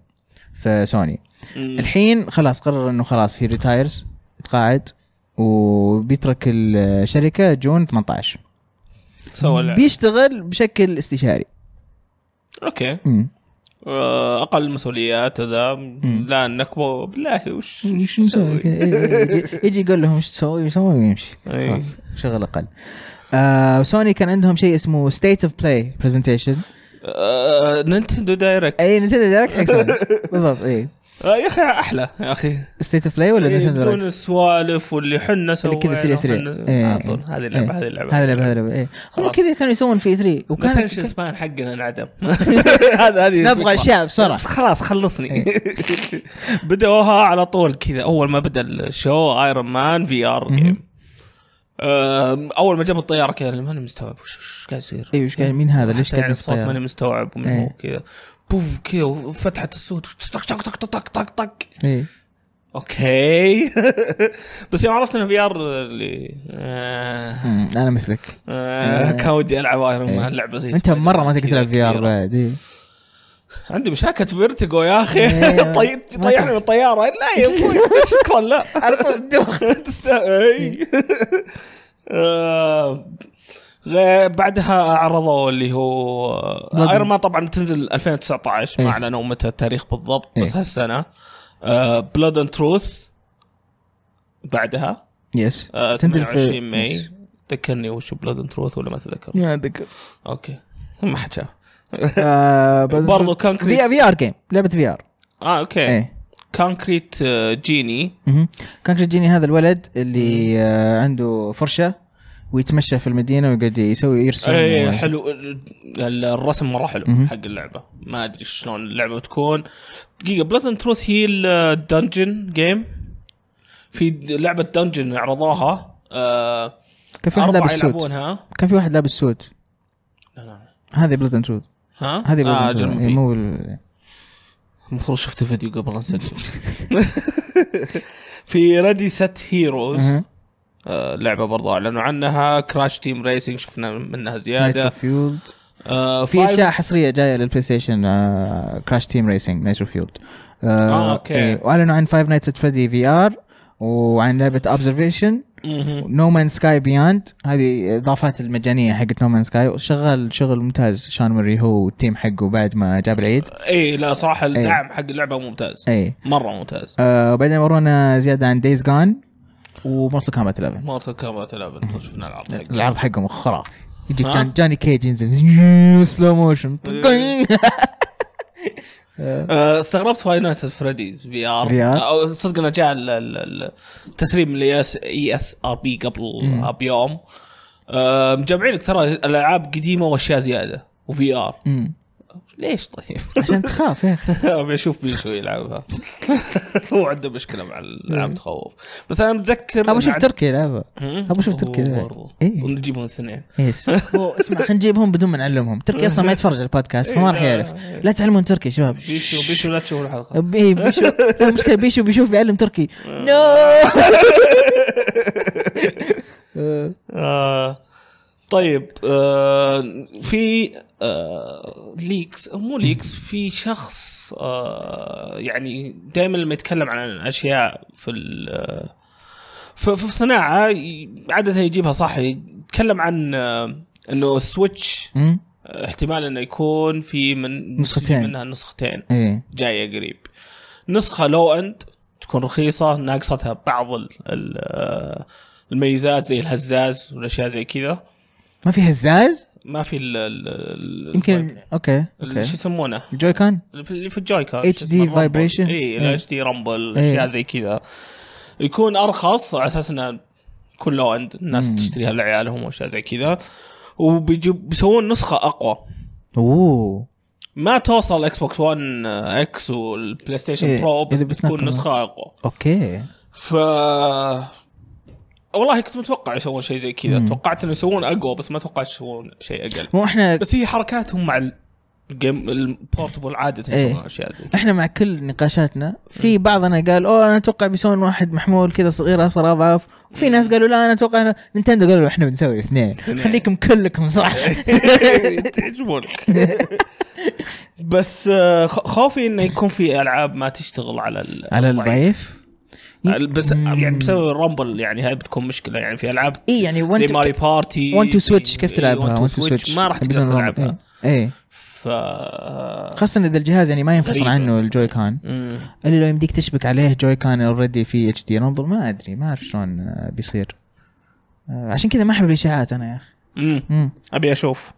Speaker 2: في سوني الحين خلاص قرر انه خلاص هي ريتايرز تقاعد وبيترك الشركه جون 18
Speaker 1: [LAUGHS] سوى لعب.
Speaker 2: بيشتغل بشكل استشاري
Speaker 1: اوكي
Speaker 2: مم.
Speaker 1: آه، اقل مسؤوليات وذا لا نكبه بالله وش
Speaker 2: وش مسوي كذا؟ [LAUGHS] إيه، إيه، يجي- يجي يقول لهم ايش تسوي يسوي ويمشي
Speaker 1: إيه.
Speaker 2: خلاص شغل اقل آه سوني كان عندهم شيء اسمه ستيت اوف بلاي برزنتيشن
Speaker 1: آه، نينتندو دايركت
Speaker 2: اي نتندو
Speaker 1: [LAUGHS]
Speaker 2: دايركت حق سوني بالضبط اي
Speaker 1: آه، يا اخي احلى يا اخي
Speaker 2: ستيت اوف بلاي ولا
Speaker 1: إيه،
Speaker 2: نتندو
Speaker 1: بدون
Speaker 2: دايركت السوالف واللي حنا اللي
Speaker 1: سوينا
Speaker 2: كذا سريع سريع
Speaker 1: وحنا-
Speaker 2: إيه.
Speaker 1: يعني على طول هذه اللعبه
Speaker 2: إيه.
Speaker 1: هذه اللعبه
Speaker 2: هذه اللعبه هذه اللعبه اي هم
Speaker 1: خلاص.
Speaker 2: كذا كانوا يسوون في E 3 وكان
Speaker 1: اتنشن سبان حقنا انعدم
Speaker 2: [LAUGHS]
Speaker 1: [LAUGHS] هذا هذه الفكرة.
Speaker 2: نبغى اشياء بسرعه
Speaker 1: خلاص خلصني
Speaker 2: إيه.
Speaker 1: [LAUGHS] بدأوها على طول كذا اول ما بدا الشو ايرون مان في ار جيم أم، اول ما جاب الطياره كذا اللي ماني مستوعب وش وش قاعد يصير
Speaker 2: اي وش قاعد مين هذا إيه، ليش
Speaker 1: حتى
Speaker 2: قاعد
Speaker 1: يعني
Speaker 2: في
Speaker 1: الصوت ماني
Speaker 2: الطيارة؟
Speaker 1: مستوعب ومن
Speaker 2: إيه.
Speaker 1: هو كذا بوف كذا وفتحت الصوت طق طق طق طق طق طق
Speaker 2: إيه.
Speaker 1: اوكي [LAUGHS] بس يوم عرفت انه في ار اللي آه،
Speaker 2: أمم، انا مثلك
Speaker 1: آه، كان ودي العب ايرون مان لعبه زي
Speaker 2: انت
Speaker 1: سبايدر
Speaker 2: مره إيه. ما
Speaker 1: مان
Speaker 2: تقدر
Speaker 1: إيه، كذا
Speaker 2: تلعب في ار
Speaker 1: كبيرة.
Speaker 2: بعد إيه.
Speaker 1: عندي مشاكل فيرتيجو يا اخي
Speaker 2: إيه.
Speaker 1: [LAUGHS] طي- طيحني من الطياره لا يا ابوي [LAUGHS] شكرا لا
Speaker 2: على طول تدوخ
Speaker 1: تست- إي. [LAUGHS] آه، غ- بعدها عرضوا اللي هو
Speaker 2: Blood
Speaker 1: ايرون مان طبعا بتنزل 2019 ما
Speaker 2: إيه.
Speaker 1: اعلنوا متى التاريخ بالضبط بس آه،
Speaker 2: إيه.
Speaker 1: هالسنه بلاد اند تروث بعدها
Speaker 2: يس
Speaker 1: آه،
Speaker 2: تنزل في-
Speaker 1: 28 ماي
Speaker 2: يس.
Speaker 1: تذكرني وش بلاد اند تروث ولا ما تذكر
Speaker 2: ما اتذكر
Speaker 1: اوكي [LAUGHS] ما حد شاف [LAUGHS] برضو
Speaker 2: برضه
Speaker 1: كونكريت
Speaker 2: آه، في في ار جيم لعبه في ار
Speaker 1: اه اوكي
Speaker 2: ايه
Speaker 1: كونكريت آه، جيني
Speaker 2: مهم. كان جيني هذا الولد اللي آه، عنده فرشه ويتمشى في المدينه ويقعد يسوي يرسم
Speaker 1: ايه
Speaker 2: و-
Speaker 1: حلو ال- الرسم مره حلو
Speaker 2: مهم.
Speaker 1: حق اللعبه ما ادري شلون اللعبه بتكون دقيقه بلاد اند تروث هي الدنجن جيم في د- لعبه دنجن عرضوها آه
Speaker 2: كان في واحد
Speaker 1: اربعه
Speaker 2: لابس سود
Speaker 1: يلعبونها
Speaker 2: كان في واحد لابس سود
Speaker 1: لا، لا.
Speaker 2: هذه بلاد اند تروث
Speaker 1: ها
Speaker 2: هذه بلاد
Speaker 1: آه
Speaker 2: اند
Speaker 1: أجل
Speaker 2: تروث
Speaker 1: ما
Speaker 2: إيه،
Speaker 1: في.
Speaker 2: مو بال-
Speaker 1: المفروض شفت فيديو قبل لا نسجل [LAUGHS] في ريدي ست هيروز
Speaker 2: أها.
Speaker 1: آه لعبه برضه اعلنوا عنها كراش تيم ريسنج شفنا منها زياده
Speaker 2: Night of Field.
Speaker 1: آه
Speaker 2: في
Speaker 1: Five-
Speaker 2: اشياء حصريه جايه للبلاي ستيشن كراش تيم ريسنج نايترو فيلد
Speaker 1: آه، أوكي.
Speaker 2: واعلنوا إيه، عن فايف نايتس ات فريدي في ار وعن لعبه اوبزرفيشن
Speaker 1: مهم.
Speaker 2: نو مان سكاي بياند هذه اضافات المجانيه حقت نو مان سكاي شغال شغل ممتاز شان موري هو والتيم حقه بعد ما جاب العيد
Speaker 1: اي إيه، لا صراحه
Speaker 2: إيه.
Speaker 1: الدعم حق اللعبه ممتاز
Speaker 2: اي
Speaker 1: مره ممتاز
Speaker 2: آه وبعدين ورونا زياده عن دايز جان ومورتل كامبات 11
Speaker 1: مورتل كومبات 11 طيب، شفنا العرض حقه.
Speaker 2: العرض حقهم خرافي يجيك
Speaker 1: ها؟
Speaker 2: جان جاني كيج ينزل [LAUGHS] سلو موشن
Speaker 1: آه، استغربت فاي نايت فريديز في ار
Speaker 2: VR.
Speaker 1: او آه، صدق انه جاء ال- ال- ال- التسليم اللي اس اي اس ار بي قبل بيوم آه، مجمعين لك ترى الالعاب قديمه واشياء زياده وفي ار ليش طيب؟ [LAUGHS]
Speaker 2: عشان تخاف إيه، يا اخي
Speaker 1: ابي اشوف بيشو يلعبها [LAUGHS] هو عنده مشكله مع الالعاب تخوف بس انا متذكر
Speaker 2: ابغى اشوف تركيا يلعبها
Speaker 1: ابو
Speaker 2: أبغى أشوف تركيا. إيه.
Speaker 1: ونجيبهم اثنين
Speaker 2: ايش هو اسمع خلينا نجيبهم بدون ما نعلمهم تركي اصلا ما يتفرج على البودكاست فما راح يعرف لا تعلمون تركي يا شباب
Speaker 1: بيشو بيشو لا تشوف الحلقه
Speaker 2: بي بيشوف
Speaker 1: [LAUGHS]
Speaker 2: لا المشكله بيشوف بيشوف بيعلم تركي نو
Speaker 1: آه، طيب آه، في آه، ليكس مو ليكس في شخص آه، يعني دائما لما يتكلم عن اشياء في ال- آه، في في الصناعه ي- عاده يجيبها صح يتكلم عن آه، انه السويتش
Speaker 2: أمم،
Speaker 1: آه، احتمال انه يكون في من
Speaker 2: نسختين.
Speaker 1: منها نسختين
Speaker 2: ايه
Speaker 1: جايه قريب نسخه لو اند تكون رخيصه ناقصتها بعض ال- ال- آه، الميزات زي الهزاز والاشياء زي كذا
Speaker 2: ما في هزاز
Speaker 1: ما في ال ال- ال-
Speaker 2: يمكن اوكي
Speaker 1: ال-
Speaker 2: اوكي
Speaker 1: شو يسمونه
Speaker 2: الجوي كان
Speaker 1: اللي في- اللي في الجوي كان
Speaker 2: HD vibration.
Speaker 1: اي
Speaker 2: إيه.
Speaker 1: الاتش دي رامبل اشياء
Speaker 2: إيه.
Speaker 1: زي كذا يكون ارخص على اساس انه كل لو اند الناس
Speaker 2: مم.
Speaker 1: تشتريها لعيالهم واشياء زي كذا وبيجيب بيسوون نسخه اقوى
Speaker 2: اوه
Speaker 1: ما توصل اكس بوكس 1 اكس والبلاي ستيشن
Speaker 2: إيه،
Speaker 1: برو بس
Speaker 2: إذا
Speaker 1: بتكون
Speaker 2: بتنقل.
Speaker 1: نسخه اقوى
Speaker 2: اوكي
Speaker 1: ف والله كنت متوقع يسوون شيء زي كذا
Speaker 2: مم.
Speaker 1: توقعت انه يسوون اقوى بس ما توقعت يسوون شيء اقل
Speaker 2: [LAUGHS] مو احنا
Speaker 1: بس هي حركاتهم مع ال- الجيم البورتبل عاده
Speaker 2: إيه.
Speaker 1: يسوون اشياء زي كذا
Speaker 2: احنا مع كل نقاشاتنا في بعضنا قال اوه انا اتوقع بيسوون واحد محمول كذا صغير عشر اضعاف وفي ناس قالوا لا انا اتوقع أنا... نينتندو قالوا احنا بنسوي اثنين خليكم كلكم
Speaker 1: [LAUGHS]
Speaker 2: صح [LAUGHS]
Speaker 1: تعجبونك [LAUGHS] بس آه، خ- خوفي انه يكون في العاب ما تشتغل على ال-
Speaker 2: على الضعيف
Speaker 1: ال- بس
Speaker 2: مم.
Speaker 1: يعني بسبب الرامبل يعني هاي بتكون مشكله يعني في العاب
Speaker 2: اي يعني
Speaker 1: زي
Speaker 2: وانت
Speaker 1: ماري بارتي
Speaker 2: وان تو سويتش كيف
Speaker 1: إيه،
Speaker 2: تلعبها
Speaker 1: وان تو سويتش ما راح تقدر
Speaker 2: بدون رابط.
Speaker 1: تلعبها
Speaker 2: ايه إيه.
Speaker 1: ف
Speaker 2: خاصه اذا الجهاز يعني ما ينفصل
Speaker 1: غريبة.
Speaker 2: عنه الجوي كان
Speaker 1: مم.
Speaker 2: اللي لو يمديك تشبك عليه جوي كان اوريدي في اتش دي رامبل ما ادري ما اعرف شلون آه، بيصير آه، عشان كذا ما احب الاشاعات انا يا اخي
Speaker 1: مم.
Speaker 2: مم.
Speaker 1: ابي اشوف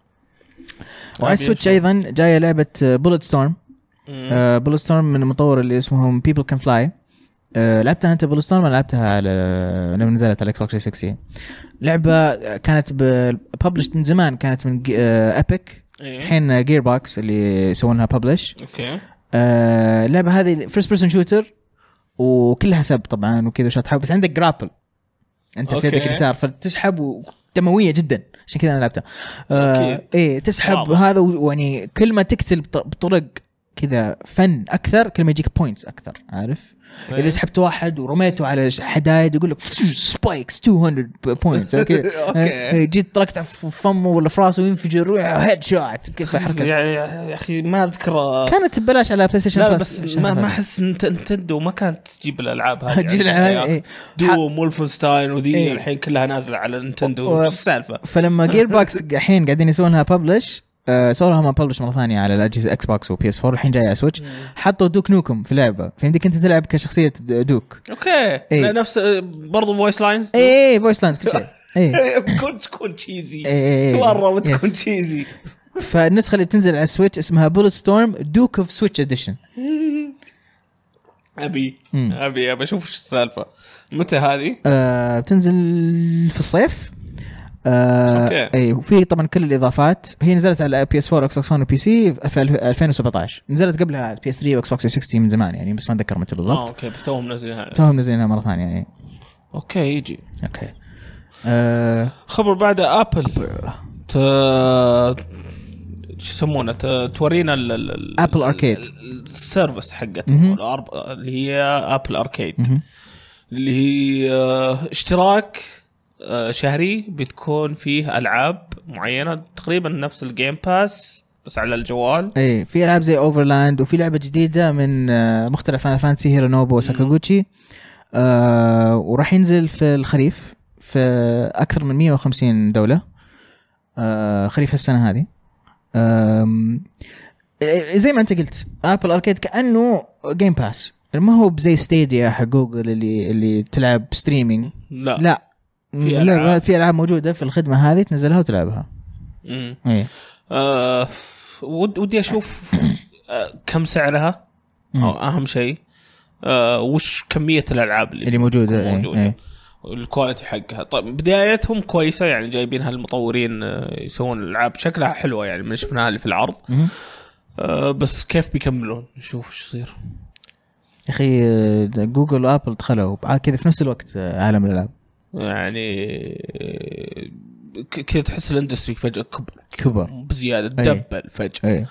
Speaker 2: وعلى السويتش ايضا جايه لعبه بولت ستورم
Speaker 1: ايضا
Speaker 2: بولت ستورم آه، من المطور اللي اسمهم بيبل كان فلاي آه، لعبتها انت بولت ستورم لعبتها على لما نزلت على الاكس بوكس 360 لعبه آه، كانت ببلش من زمان كانت من آه، ابيك
Speaker 1: إيه.
Speaker 2: الحين جير بوكس اللي يسوونها ببلش
Speaker 1: اوكي
Speaker 2: آه، اللعبه هذه فيرست بيرسون شوتر وكلها سب طبعا وكذا شطحه بس عندك جرابل انت في
Speaker 1: أوكي.
Speaker 2: يدك اليسار فتسحب ودمويه جدا عشان كذا انا لعبتها آه
Speaker 1: أكيد.
Speaker 2: ايه تسحب
Speaker 1: واضح.
Speaker 2: هذا و- ويعني كل ما تقتل بط- بطرق كذا فن اكثر كل ما يجيك بوينتس اكثر عارف
Speaker 1: إيه.
Speaker 2: اذا سحبت واحد ورميته على ش- حدايد يقول لك سبايكس 200
Speaker 1: [LAUGHS]
Speaker 2: بوينتس اوكي
Speaker 1: أوكي.
Speaker 2: آه، جيت طلقت في فمه ولا في راسه وينفجر هيد شوت كيف حركه
Speaker 1: يعني [LAUGHS] يا اخي ما اذكر
Speaker 2: كانت ببلاش على بلاي ستيشن
Speaker 1: لا
Speaker 2: بلس
Speaker 1: بس ما ما احس إن نتندو ما كانت تجيب الالعاب هذه
Speaker 2: تجيب
Speaker 1: يعني
Speaker 2: الألعاب،
Speaker 1: يا-
Speaker 2: إيه.
Speaker 1: دوم ولفنستاين وذي
Speaker 2: إيه.
Speaker 1: الحين كلها نازله على نتندو
Speaker 2: و-
Speaker 1: وش السالفه؟
Speaker 2: فلما جير بوكس [LAUGHS] الحين قاعدين يسوونها ببلش آه سووا لها ببلش مره ثانيه على الاجهزه اكس بوكس وبي اس 4 الحين جايه على سويتش حطوا دوك نوكم في لعبه فيمديك انت تلعب كشخصيه د- دوك
Speaker 1: اوكي
Speaker 2: إيه.
Speaker 1: لا، نفس برضو فويس لاينز
Speaker 2: اي اي فويس لاند إيه، كل [LAUGHS] شيء إيه، اي
Speaker 1: [LAUGHS] كنت تكون تشيزي
Speaker 2: اي
Speaker 1: مره بتكون تشيزي
Speaker 2: فالنسخه إيه، اللي بتنزل على السويتش اسمها بولت ستورم دوك اوف سويتش اديشن
Speaker 1: ابي
Speaker 2: مم.
Speaker 1: ابي ابي اشوف ايش السالفه متى هذه؟
Speaker 2: آه بتنزل في الصيف
Speaker 1: أوكي.
Speaker 2: آه اي وفي طبعا كل الاضافات هي نزلت على بي اس 4 اكس بوكس 1 وبي سي في الف- 2017 نزلت قبلها على بي اس 3 واكس بوكس 360 من زمان يعني بس ما اتذكر متى
Speaker 1: اه
Speaker 2: بالضبط
Speaker 1: اوكي بس توهم منزلينها
Speaker 2: توهم منزلينها مره ثانيه يعني
Speaker 1: اوكي يجي
Speaker 2: اوكي آه
Speaker 1: خبر بعد ابل ت... شو يسمونه ت... تورينا ال... ال... ال-
Speaker 2: Apple
Speaker 1: ال-
Speaker 2: Arcade.
Speaker 1: ال- السيرفس حقتهم
Speaker 2: مهم.
Speaker 1: الأرب- اللي هي ابل اركيد
Speaker 2: مهم.
Speaker 1: اللي هي آه، اشتراك آه، شهري بتكون فيه العاب معينه تقريبا نفس الجيم باس بس على الجوال
Speaker 2: اي إيه، في العاب زي اوفرلاند وفي لعبه جديده من آه مختلف فان فانتسي هيرو نوبو وساكاغوتشي آه وراح ينزل في الخريف في اكثر من 150 دوله آه خريف السنه هذه آم، إيه، زي ما انت قلت ابل اركيد كانه جيم باس ما هو بزي ستيديا حق جوجل اللي اللي تلعب ستريمينج
Speaker 1: لا,
Speaker 2: لا
Speaker 1: آه، في
Speaker 2: لا،
Speaker 1: ألعاب.
Speaker 2: في العاب موجوده في الخدمه هذه تنزلها وتلعبها
Speaker 1: مم.
Speaker 2: ايه
Speaker 1: آه ود- ودي اشوف آه، كم سعرها
Speaker 2: مم.
Speaker 1: أو اهم شيء آه وش كميه الالعاب اللي
Speaker 2: اللي موجوده إيه،
Speaker 1: موجودة.
Speaker 2: إيه.
Speaker 1: الكواليتي حقها طيب بدايتهم كويسه
Speaker 2: إيه.
Speaker 1: يعني جايبينها المطورين آه، يسوون العاب شكلها حلوه يعني من شفناها اللي في العرض
Speaker 2: مهم.
Speaker 1: آه، بس كيف بيكملون نشوف شو يصير
Speaker 2: يا اخي آه، جوجل وابل دخلوا بع- كذا في نفس الوقت آه، عالم الالعاب
Speaker 1: يعني آه، ك- كذا تحس الاندستري فجاه كبر
Speaker 2: كبر
Speaker 1: بزياده
Speaker 2: طيب. أي.
Speaker 1: دبل فجاه
Speaker 2: اي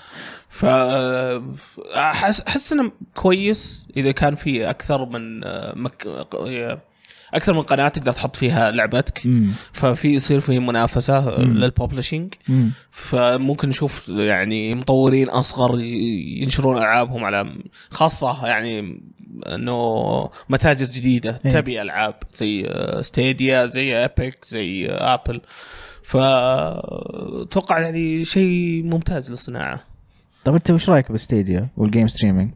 Speaker 1: ف آه، احس احس انه كويس اذا كان في اكثر من آه، مك... آه، اكثر من قناه تقدر تحط فيها لعبتك
Speaker 2: امم
Speaker 1: ففي يصير في آه، منافسه
Speaker 2: مم.
Speaker 1: للببلشنج
Speaker 2: امم
Speaker 1: فممكن نشوف يعني مطورين اصغر ينشرون العابهم على خاصه يعني انه متاجر جديده
Speaker 2: إيه.
Speaker 1: تبي العاب زي ستيديا زي ايبك زي آه، ابل فاتوقع يعني شيء ممتاز للصناعه
Speaker 2: طب انت وش رايك بالستيديا والجيم ستريمينج؟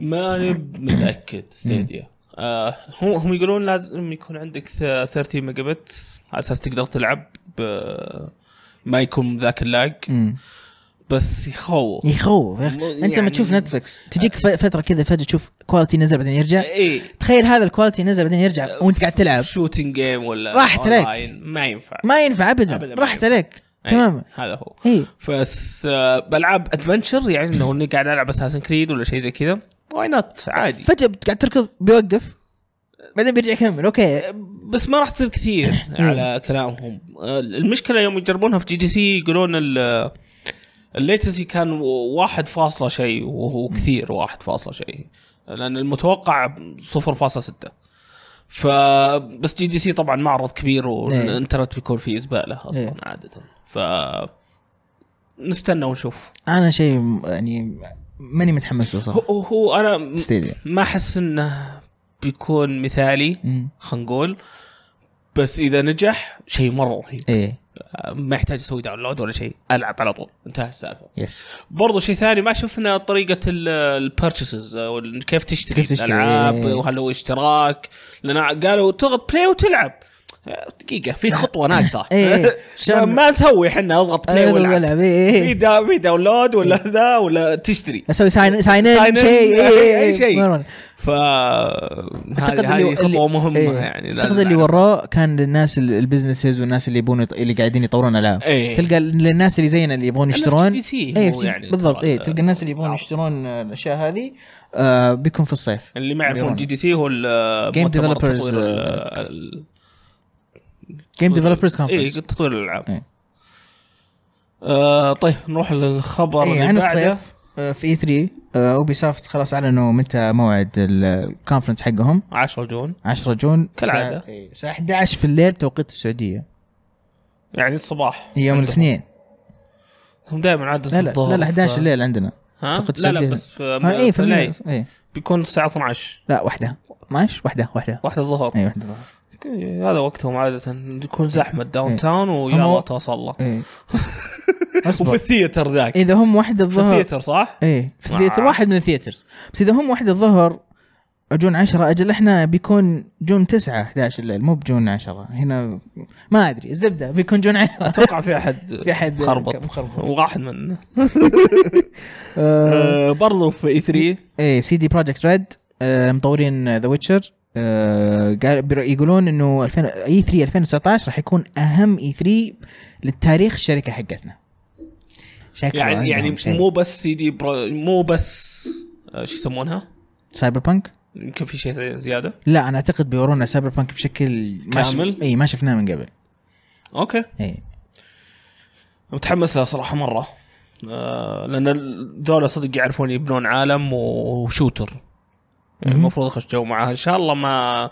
Speaker 1: ماني متاكد ستيديا آه هم هم يقولون لازم يكون عندك ث- 30 ميجا بت على اساس تقدر تلعب ب- ما يكون ذاك اللاج
Speaker 2: امم
Speaker 1: بس يخوف
Speaker 2: يخوف
Speaker 1: مو-
Speaker 2: يا اخي انت لما
Speaker 1: يعني-
Speaker 2: تشوف نتفلكس تجيك ف- فتره كذا فجاه تشوف كواليتي نزل بعدين يرجع
Speaker 1: ايه
Speaker 2: تخيل هذا الكواليتي نزل بعدين يرجع وانت قاعد تلعب
Speaker 1: شوتنج جيم ولا
Speaker 2: راحت عليك.
Speaker 1: أونلاين، ما ينفع
Speaker 2: ما ينفع ابدا
Speaker 1: أبداً ما
Speaker 2: راحت
Speaker 1: ينفع.
Speaker 2: عليك إيه. تماما
Speaker 1: أي، هذا هو
Speaker 2: اي
Speaker 1: بس آه، بلعب ادفنشر يعني لو اني قاعد العب اساسن كريد ولا شيء زي كذا واي نوت عادي
Speaker 2: فجاه قاعد تركض بيوقف بعدين بيرجع يكمل اوكي
Speaker 1: بس ما راح تصير كثير على كلامهم آه، المشكله يوم يجربونها في جي جي سي يقولون ال آه، الليتنسي كان واحد فاصلة شيء وهو كثير واحد فاصلة شيء لأن المتوقع 0.6 فبس جي جي سي طبعا معرض كبير والإنترنت بيكون فيه زبالة أصلا
Speaker 2: إيه.
Speaker 1: عادة ف نستنى ونشوف
Speaker 2: انا شيء م- يعني ماني متحمس له صراحه
Speaker 1: هو, هو أنا م-
Speaker 2: ستيديا
Speaker 1: ما أحس إنه بيكون مثالي
Speaker 2: أمم.
Speaker 1: خلينا نقول بس اذا نجح شيء مره رهيب
Speaker 2: ايه
Speaker 1: ما يحتاج اسوي داونلود ولا شيء العب على طول انتهى السالفه
Speaker 2: يس
Speaker 1: برضو شيء ثاني ما شفنا طريقه البيرتشز كيف تشتري كيف
Speaker 2: كيف تشتري،
Speaker 1: تشتري الالعاب
Speaker 2: إيه.
Speaker 1: وهل هو اشتراك لان قالوا تضغط بلاي وتلعب دقيقه في خطوه ناقصه
Speaker 2: [LAUGHS] إيه، إيه.
Speaker 1: [LAUGHS] ما- ما نسوي احنا اضغط بلاي والعب
Speaker 2: العب إيه،
Speaker 1: في
Speaker 2: إيه.
Speaker 1: دا في داونلود ولا ذا ولا تشتري
Speaker 2: اسوي ساين ساين ان
Speaker 1: ساين إن،
Speaker 2: شيء إيه، إيه،
Speaker 1: أي
Speaker 2: إيه.
Speaker 1: شيء.
Speaker 2: مرة.
Speaker 1: ف اعتقد هذه خطوه مهمه يعني لازم
Speaker 2: اعتقد إيه. اللي
Speaker 1: نعرف.
Speaker 2: وراه كان للناس ال- البزنسز والناس اللي يبون يط- اللي قاعدين يطورون العاب
Speaker 1: إيه.
Speaker 2: تلقى للناس اللي زينا اللي يبغون
Speaker 1: في
Speaker 2: يشترون
Speaker 1: GTC
Speaker 2: إيه،
Speaker 1: هو
Speaker 2: في GTC
Speaker 1: يعني
Speaker 2: بالضبط
Speaker 1: ترى-
Speaker 2: اي تلقى الناس اللي يبغون
Speaker 1: آه.
Speaker 2: يشترون الاشياء هذه آه بيكون في الصيف
Speaker 1: اللي ما يعرفون
Speaker 2: يبيعونه.
Speaker 1: جي دي سي هو ال
Speaker 2: Game
Speaker 1: مؤتمر
Speaker 2: Developers،
Speaker 1: تطوير ال-
Speaker 2: آه،
Speaker 1: ال-
Speaker 2: جيم ديفلوبرز
Speaker 1: اي
Speaker 2: كونفرنس
Speaker 1: إيه، تطوير الالعاب
Speaker 2: إيه.
Speaker 1: آه طيب نروح للخبر
Speaker 2: إيه،
Speaker 1: اللي
Speaker 2: عن
Speaker 1: بعده
Speaker 2: الصيف آه، في اي 3 آه، اوبي سوفت خلاص اعلنوا متى موعد ال- الكونفرنس حقهم
Speaker 1: 10 جون
Speaker 2: 10 جون
Speaker 1: كالعادة.
Speaker 2: الساعة- إيه، الساعه 11 في الليل توقيت السعوديه
Speaker 1: يعني الصباح
Speaker 2: يوم
Speaker 1: عندهم.
Speaker 2: الاثنين
Speaker 1: هم دائما عاد
Speaker 2: لا لا لا لا 11 الليل عندنا
Speaker 1: ها؟
Speaker 2: توقيت
Speaker 1: لا لا
Speaker 2: السعودية.
Speaker 1: بس
Speaker 2: آه،
Speaker 1: إيه، في
Speaker 2: اي في
Speaker 1: في
Speaker 2: الليل اي
Speaker 1: بيكون الساعه 12
Speaker 2: لا وحده ماشي وحده وحده
Speaker 1: واحدة الظهر
Speaker 2: اي وحده
Speaker 1: إيه، هذا وقتهم عادة يكون زحمة داون
Speaker 2: إيه.
Speaker 1: تاون
Speaker 2: هم-
Speaker 1: ويلا توصل له [LAUGHS]
Speaker 2: ايه
Speaker 1: وفي
Speaker 2: اصبر
Speaker 1: الثيتر ذاك
Speaker 2: اذا هم واحد
Speaker 1: في
Speaker 2: إيه، الظهر
Speaker 1: الثيتر صح؟
Speaker 2: ايه في الثيتر
Speaker 1: آه.
Speaker 2: واحد من الثيترز بس اذا هم واحد الظهر جون 10 اجل احنا بيكون جون 9 11 الليل مو بجون 10 هنا ما ادري الزبده بيكون جون 10
Speaker 1: اتوقع في احد
Speaker 2: [LAUGHS] في احد
Speaker 1: خربط
Speaker 2: مخربط
Speaker 1: واحد من
Speaker 2: آه،
Speaker 1: آه، برضو في اي 3
Speaker 2: ايه سي دي بروجكت ريد مطورين ذا ويتشر يقولون E انه 2000 اي 3 2019 راح يكون اهم اي 3 للتاريخ الشركه حقتنا شكله
Speaker 1: يعني
Speaker 2: عندهم
Speaker 1: يعني
Speaker 2: شيء.
Speaker 1: مو بس سي دي برو مو بس آه، شو يسمونها؟
Speaker 2: سايبر بانك
Speaker 1: يمكن في شيء زياده
Speaker 2: لا انا اعتقد بيورونا سايبر بانك بشكل ما شف-
Speaker 1: كامل؟
Speaker 2: اي ما شفناه من قبل إيه.
Speaker 1: اوكي
Speaker 2: اي
Speaker 1: متحمس لها صراحه مره آه، لان ذولا صدق يعرفون يبنون عالم وشوتر يعني
Speaker 2: مهم.
Speaker 1: المفروض اخش جو معاها ان شاء الله ما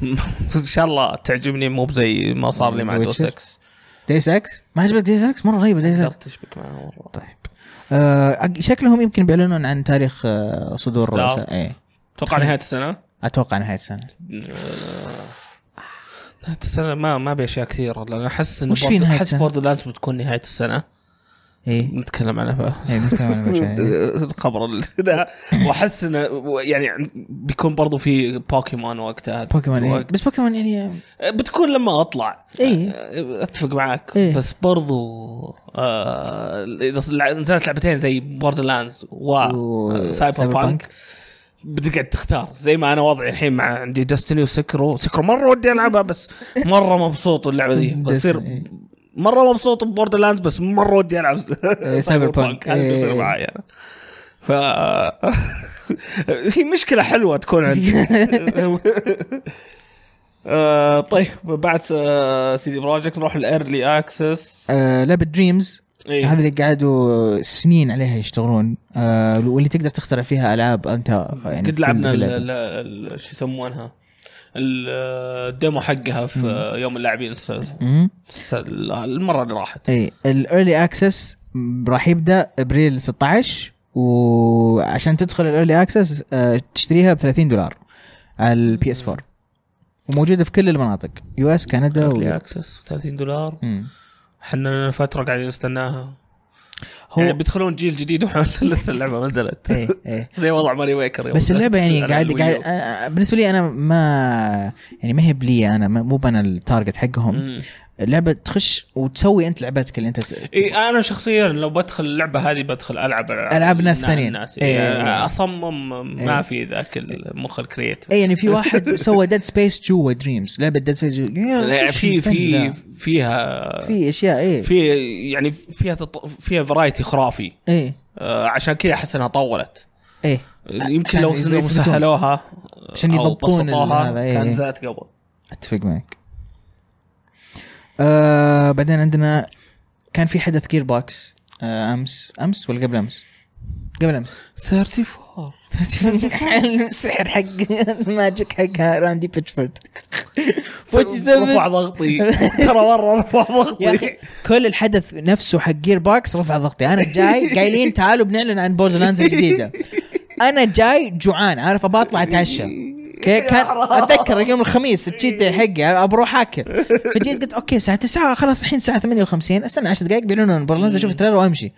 Speaker 1: [LAUGHS] ان شاء الله تعجبني مو بزي ما صار لي مع
Speaker 2: The
Speaker 1: دو
Speaker 2: Witcher؟
Speaker 1: 6
Speaker 2: ديس اكس ما عجبك ديس اكس مره رهيبه
Speaker 1: إيه.
Speaker 2: ديس اكس
Speaker 1: تشبك معها والله
Speaker 2: طيب آه شكلهم يمكن بيعلنون عن تاريخ آه صدور
Speaker 1: إصدار.
Speaker 2: اي
Speaker 1: اتوقع نهايه السنه
Speaker 2: اتوقع نهايه السنه
Speaker 1: نهايه السنه ما ما باشياء كثيره لان احس ان
Speaker 2: وش في
Speaker 1: بورد-
Speaker 2: نهاية
Speaker 1: احس
Speaker 2: السنة؟
Speaker 1: بوردر لاندز بتكون نهايه السنه
Speaker 2: اي
Speaker 1: نتكلم عنها
Speaker 2: اي بنتكلم
Speaker 1: [LAUGHS] الخبر ال- ذا واحس انه و- يعني بيكون برضو في بوكيمون وقتها
Speaker 2: بوكيمون إيه.
Speaker 1: وقت-
Speaker 2: بس بوكيمون يعني
Speaker 1: بتكون لما اطلع
Speaker 2: إيه.
Speaker 1: اتفق معاك
Speaker 2: إيه.
Speaker 1: بس برضو آه اذا صل- نزلت لعبتين زي بوردر لاندز
Speaker 2: و-
Speaker 1: وسايبر
Speaker 2: Cyberpunk.
Speaker 1: بانك بتقعد تختار زي ما انا وضعي الحين مع عندي
Speaker 2: [LAUGHS]
Speaker 1: دستني وسكرو سكرو مره ودي العبها بس مره مبسوط اللعبه ذي بصير
Speaker 2: إيه. Destiny.
Speaker 1: مره مبسوط ببوردر لاندز بس مره ودي العب
Speaker 2: [LAUGHS] إيه، سايبر بانك.
Speaker 1: هذا بيصير
Speaker 2: إيه.
Speaker 1: معي انا يعني. ف [LAUGHS] هي مشكله حلوه تكون
Speaker 2: [LAUGHS]
Speaker 1: عندي آه، طيب بعد آه، سيدي بروجكت نروح الايرلي اكسس
Speaker 2: آه لعبه دريمز
Speaker 1: إيه.
Speaker 2: هذا اللي قعدوا سنين عليها يشتغلون آه واللي تقدر تخترع فيها العاب انت يعني
Speaker 1: قد
Speaker 2: في
Speaker 1: لعبنا ال-
Speaker 2: اللعبة.
Speaker 1: ال- ال- شو يسمونها ال- الديمو حقها في يوم اللاعبين الس-
Speaker 2: مم.
Speaker 1: الس- المره اللي راحت
Speaker 2: اي الايرلي اكسس راح يبدا ابريل 16 وعشان تدخل الايرلي اكسس آه، تشتريها ب 30 دولار على البي اس 4 وموجوده في كل المناطق يو اس كندا
Speaker 1: ايرلي
Speaker 2: و...
Speaker 1: اكسس 30 دولار
Speaker 2: مم.
Speaker 1: احنا لنا فتره قاعدين نستناها
Speaker 2: هو-
Speaker 1: هو يعني بيدخلون جيل جديد واحنا [LAUGHS] لسه اللعبه ما نزلت
Speaker 2: ايه ايه
Speaker 1: زي وضع ماري ويكر يوم
Speaker 2: بس اللعبه يعني
Speaker 1: نزلت على
Speaker 2: قاعد
Speaker 1: الويو.
Speaker 2: قاعد أنا- بالنسبه لي انا ما يعني ما هي بلي انا ما- مو انا التارجت حقهم
Speaker 1: مم.
Speaker 2: اللعبه تخش وتسوي انت لعبتك اللي انت ت-
Speaker 1: اي انا شخصيا إيه، لو بدخل اللعبه هذه بدخل العب
Speaker 2: ألعاب ناس ثانيين.
Speaker 1: الناس
Speaker 2: إيه.
Speaker 1: إيه. اصمم ما
Speaker 2: إيه.
Speaker 1: في ذاك المخ الكرييتيف
Speaker 2: اي يعني في واحد سوى ديد سبيس جوا دريمز لعبه ديد سبيس جوا
Speaker 1: لا، يعني في في فيها
Speaker 2: في اشياء ايه
Speaker 1: في يعني فيها تط... فيها فرايتي خرافي
Speaker 2: ايه
Speaker 1: آه عشان كذا احس انها طولت
Speaker 2: ايه
Speaker 1: يمكن
Speaker 2: عشان
Speaker 1: لو انهم
Speaker 2: يثبتون.
Speaker 1: سهلوها آه،
Speaker 2: عشان
Speaker 1: أو
Speaker 2: يضبطون
Speaker 1: بسطوها
Speaker 2: هذا، إيه.
Speaker 1: كان زادت قبل
Speaker 2: اتفق معك آه بعدين عندنا كان في حدث جير بوكس آه امس امس ولا قبل امس؟ قبل امس
Speaker 1: 34
Speaker 2: السحر حق الماجيك حق راندي بيتشفورد
Speaker 1: رفع
Speaker 2: [LAUGHS]
Speaker 1: ضغطي ترى مره رفع
Speaker 2: يا أخي،
Speaker 1: ضغطي
Speaker 2: كل الحدث نفسه حق جير بوكس رفع ضغطي انا [LAUGHS] جاي قايلين تعالوا بنعلن عن بوردرلاندز الجديده انا جاي جوعان عارف ابى اطلع اتعشى كي- كان اتذكر يوم الخميس التشيت داي حقي بروح اكل فجيت قلت اوكي الساعه 9 خلاص الحين الساعه 58 استنى 10 دقائق بيعلنون عن بورلاندز اشوف التريلر وامشي